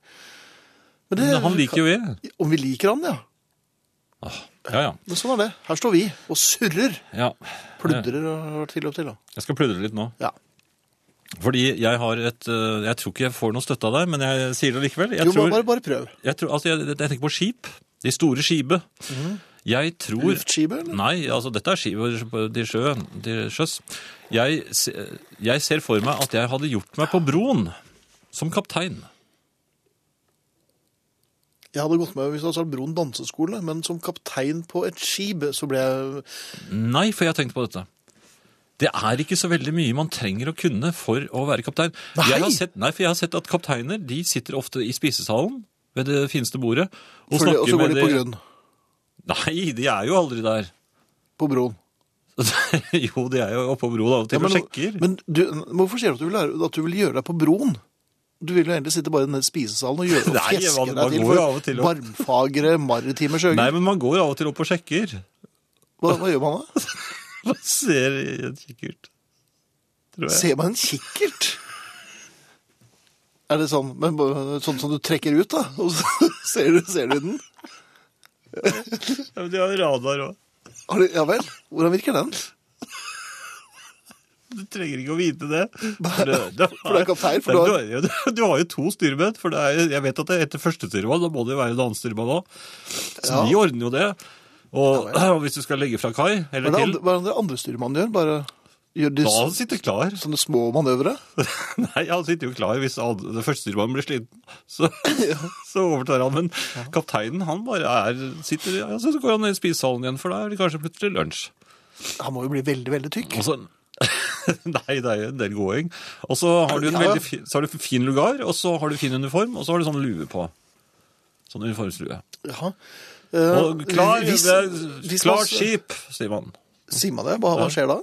[SPEAKER 1] Men
[SPEAKER 2] Men han liker jo jeg.
[SPEAKER 1] Om vi liker han, ja.
[SPEAKER 2] Ja, ja.
[SPEAKER 1] Men sånn er det. Her står vi og surrer.
[SPEAKER 2] ja.
[SPEAKER 1] Pludrer og har vært til og til. da.
[SPEAKER 2] Jeg skal pludre litt nå.
[SPEAKER 1] Ja.
[SPEAKER 2] Fordi jeg har et eh, Jeg tror ikke jeg får noe støtte av deg, men jeg sier det likevel. Jeg
[SPEAKER 1] Jo,
[SPEAKER 2] tror,
[SPEAKER 1] bare, bare prøv.
[SPEAKER 2] jeg, tror, altså, jeg, jeg tenker på skip. De store skipet. Jeg tror
[SPEAKER 1] Luftskibet, Mhm. eller?
[SPEAKER 2] Nei, altså dette er skiver til sjø, til sjøs. Jeg, se- jeg ser for meg at jeg hadde gjort meg på broen som kaptein.
[SPEAKER 1] Jeg hadde gått med hvis det hadde sagt Broen danseskole, men som kaptein på et skip så ble jeg
[SPEAKER 2] Nei, for jeg har tenkt på dette. Det er ikke så veldig mye man trenger å kunne for å være kaptein.
[SPEAKER 1] Nei!
[SPEAKER 2] Jeg har sett, nei, for jeg har sett at kapteiner de sitter ofte i spisesalen ved det fineste bordet og
[SPEAKER 1] Følge-
[SPEAKER 2] snakker
[SPEAKER 1] Og så går
[SPEAKER 2] med
[SPEAKER 1] de på grunn.
[SPEAKER 2] Nei, de er jo aldri der.
[SPEAKER 1] På broen.
[SPEAKER 2] jo, de er jo oppe på broen av og til
[SPEAKER 1] men,
[SPEAKER 2] og sjekker.
[SPEAKER 1] men du, men hvorfor sier du at du, vil, lære- at du vil gjøre deg på broen? Du vil jo egentlig sitte bare nede i spisesalen og gjøre og
[SPEAKER 2] Nei,
[SPEAKER 1] fjeske
[SPEAKER 2] man- man
[SPEAKER 1] deg til
[SPEAKER 2] går jo av og til
[SPEAKER 1] for
[SPEAKER 2] og-
[SPEAKER 1] barmfagre maritime
[SPEAKER 2] Nei,
[SPEAKER 1] sjøgutter.
[SPEAKER 2] men man går av og til opp og sjekker.
[SPEAKER 1] Hva, hva gjør man da?
[SPEAKER 2] Man ser i en kikkert. Tror jeg.
[SPEAKER 1] Ser man en kikkert? Er det sånn, men, bare sånn som du trekker ut, da? Og så ser du, ser du den?
[SPEAKER 2] Ja, men de har radar òg.
[SPEAKER 1] Har du, ja vel? Hvordan virker den?
[SPEAKER 2] Du trenger ikke å vite det. For det,
[SPEAKER 1] for det er kaptein, for du har-
[SPEAKER 2] Nei, du, har... du har jo to styrmenn. For det er, jeg vet at det er etter første styrmann, da må det jo være en annen styrmann òg. Så
[SPEAKER 1] Ja.
[SPEAKER 2] de ordner jo det. Og, og hvis du skal legge fra kai,
[SPEAKER 1] Hva er
[SPEAKER 2] eller
[SPEAKER 1] det
[SPEAKER 2] til,
[SPEAKER 1] andre, hva er det andre styrmannen gjør? Bare gjør de
[SPEAKER 2] da
[SPEAKER 1] s-
[SPEAKER 2] han sitter klar.
[SPEAKER 1] sånne små manøvre?
[SPEAKER 2] Nei, han sitter jo klar hvis han, den første styrmannen blir sliten. Så, så overtar han. Men kapteinen, han bare er sitter, ja, Så går han ned i spisesalen igjen, for da er det kanskje plutselig lunsj.
[SPEAKER 1] Han må jo bli veldig, veldig tykk.
[SPEAKER 2] Og så... Nei, det er jo en del gåing. Og så har du en
[SPEAKER 1] Ja, ja.
[SPEAKER 2] veldig fin, så har du en fin lugar, og så har du fin uniform, og så har du sånn lue på. Sånn uniformslue.
[SPEAKER 1] Ja.
[SPEAKER 2] Og
[SPEAKER 1] Eh,
[SPEAKER 2] klar,
[SPEAKER 1] hvis-
[SPEAKER 2] det er,
[SPEAKER 1] hvis man-
[SPEAKER 2] klar skip, sier man.
[SPEAKER 1] Sier man det? Hva, hva skjer da?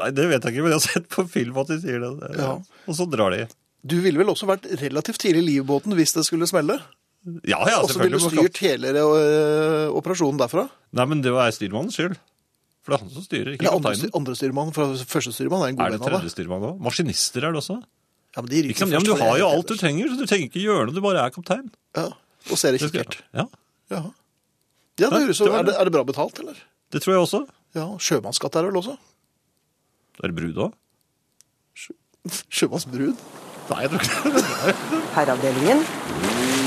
[SPEAKER 2] Nei, det vet jeg ikke, men jeg har sett på film at de sier det. det.
[SPEAKER 1] Ja.
[SPEAKER 2] Og så drar de.
[SPEAKER 1] Du ville vel også vært relativt tidlig i livbåten hvis det skulle smelle?
[SPEAKER 2] Ja, ja,
[SPEAKER 1] Og så ville
[SPEAKER 2] selvfølgelig.
[SPEAKER 1] du
[SPEAKER 2] man kan-
[SPEAKER 1] styrt hele øh, operasjonen derfra?
[SPEAKER 2] Nei, men det er styrmannens skyld. For det er han som styrer, ikke
[SPEAKER 1] Eller andre, styr-
[SPEAKER 2] kapteinen.
[SPEAKER 1] andre styrmann, for første styrmann er en
[SPEAKER 2] Er
[SPEAKER 1] god
[SPEAKER 2] det
[SPEAKER 1] venn av
[SPEAKER 2] tredje
[SPEAKER 1] deg.
[SPEAKER 2] styrmann òg? Maskinister er det også.
[SPEAKER 1] Ja, men de ryker
[SPEAKER 2] Ikke sant? Ja,
[SPEAKER 1] først,
[SPEAKER 2] men du
[SPEAKER 1] for
[SPEAKER 2] har
[SPEAKER 1] jeg
[SPEAKER 2] jo
[SPEAKER 1] er
[SPEAKER 2] alt du trenger, så du trenger ikke gjøre noe, du bare er kaptein.
[SPEAKER 1] Ja, og ser det
[SPEAKER 2] Det skal-
[SPEAKER 1] kikkert.
[SPEAKER 2] Ja,
[SPEAKER 1] Ja. Ja, det
[SPEAKER 2] Nei,
[SPEAKER 1] høres jo,
[SPEAKER 2] det var
[SPEAKER 1] er, det, er det bra betalt, eller?
[SPEAKER 2] det tror jeg også.
[SPEAKER 1] Ja, sjømannsskatt er det vel også?
[SPEAKER 2] Er det brud òg?
[SPEAKER 1] Sjømannsbrud?
[SPEAKER 2] Nei, jeg tror ikke det.
[SPEAKER 4] Herreavdelingen.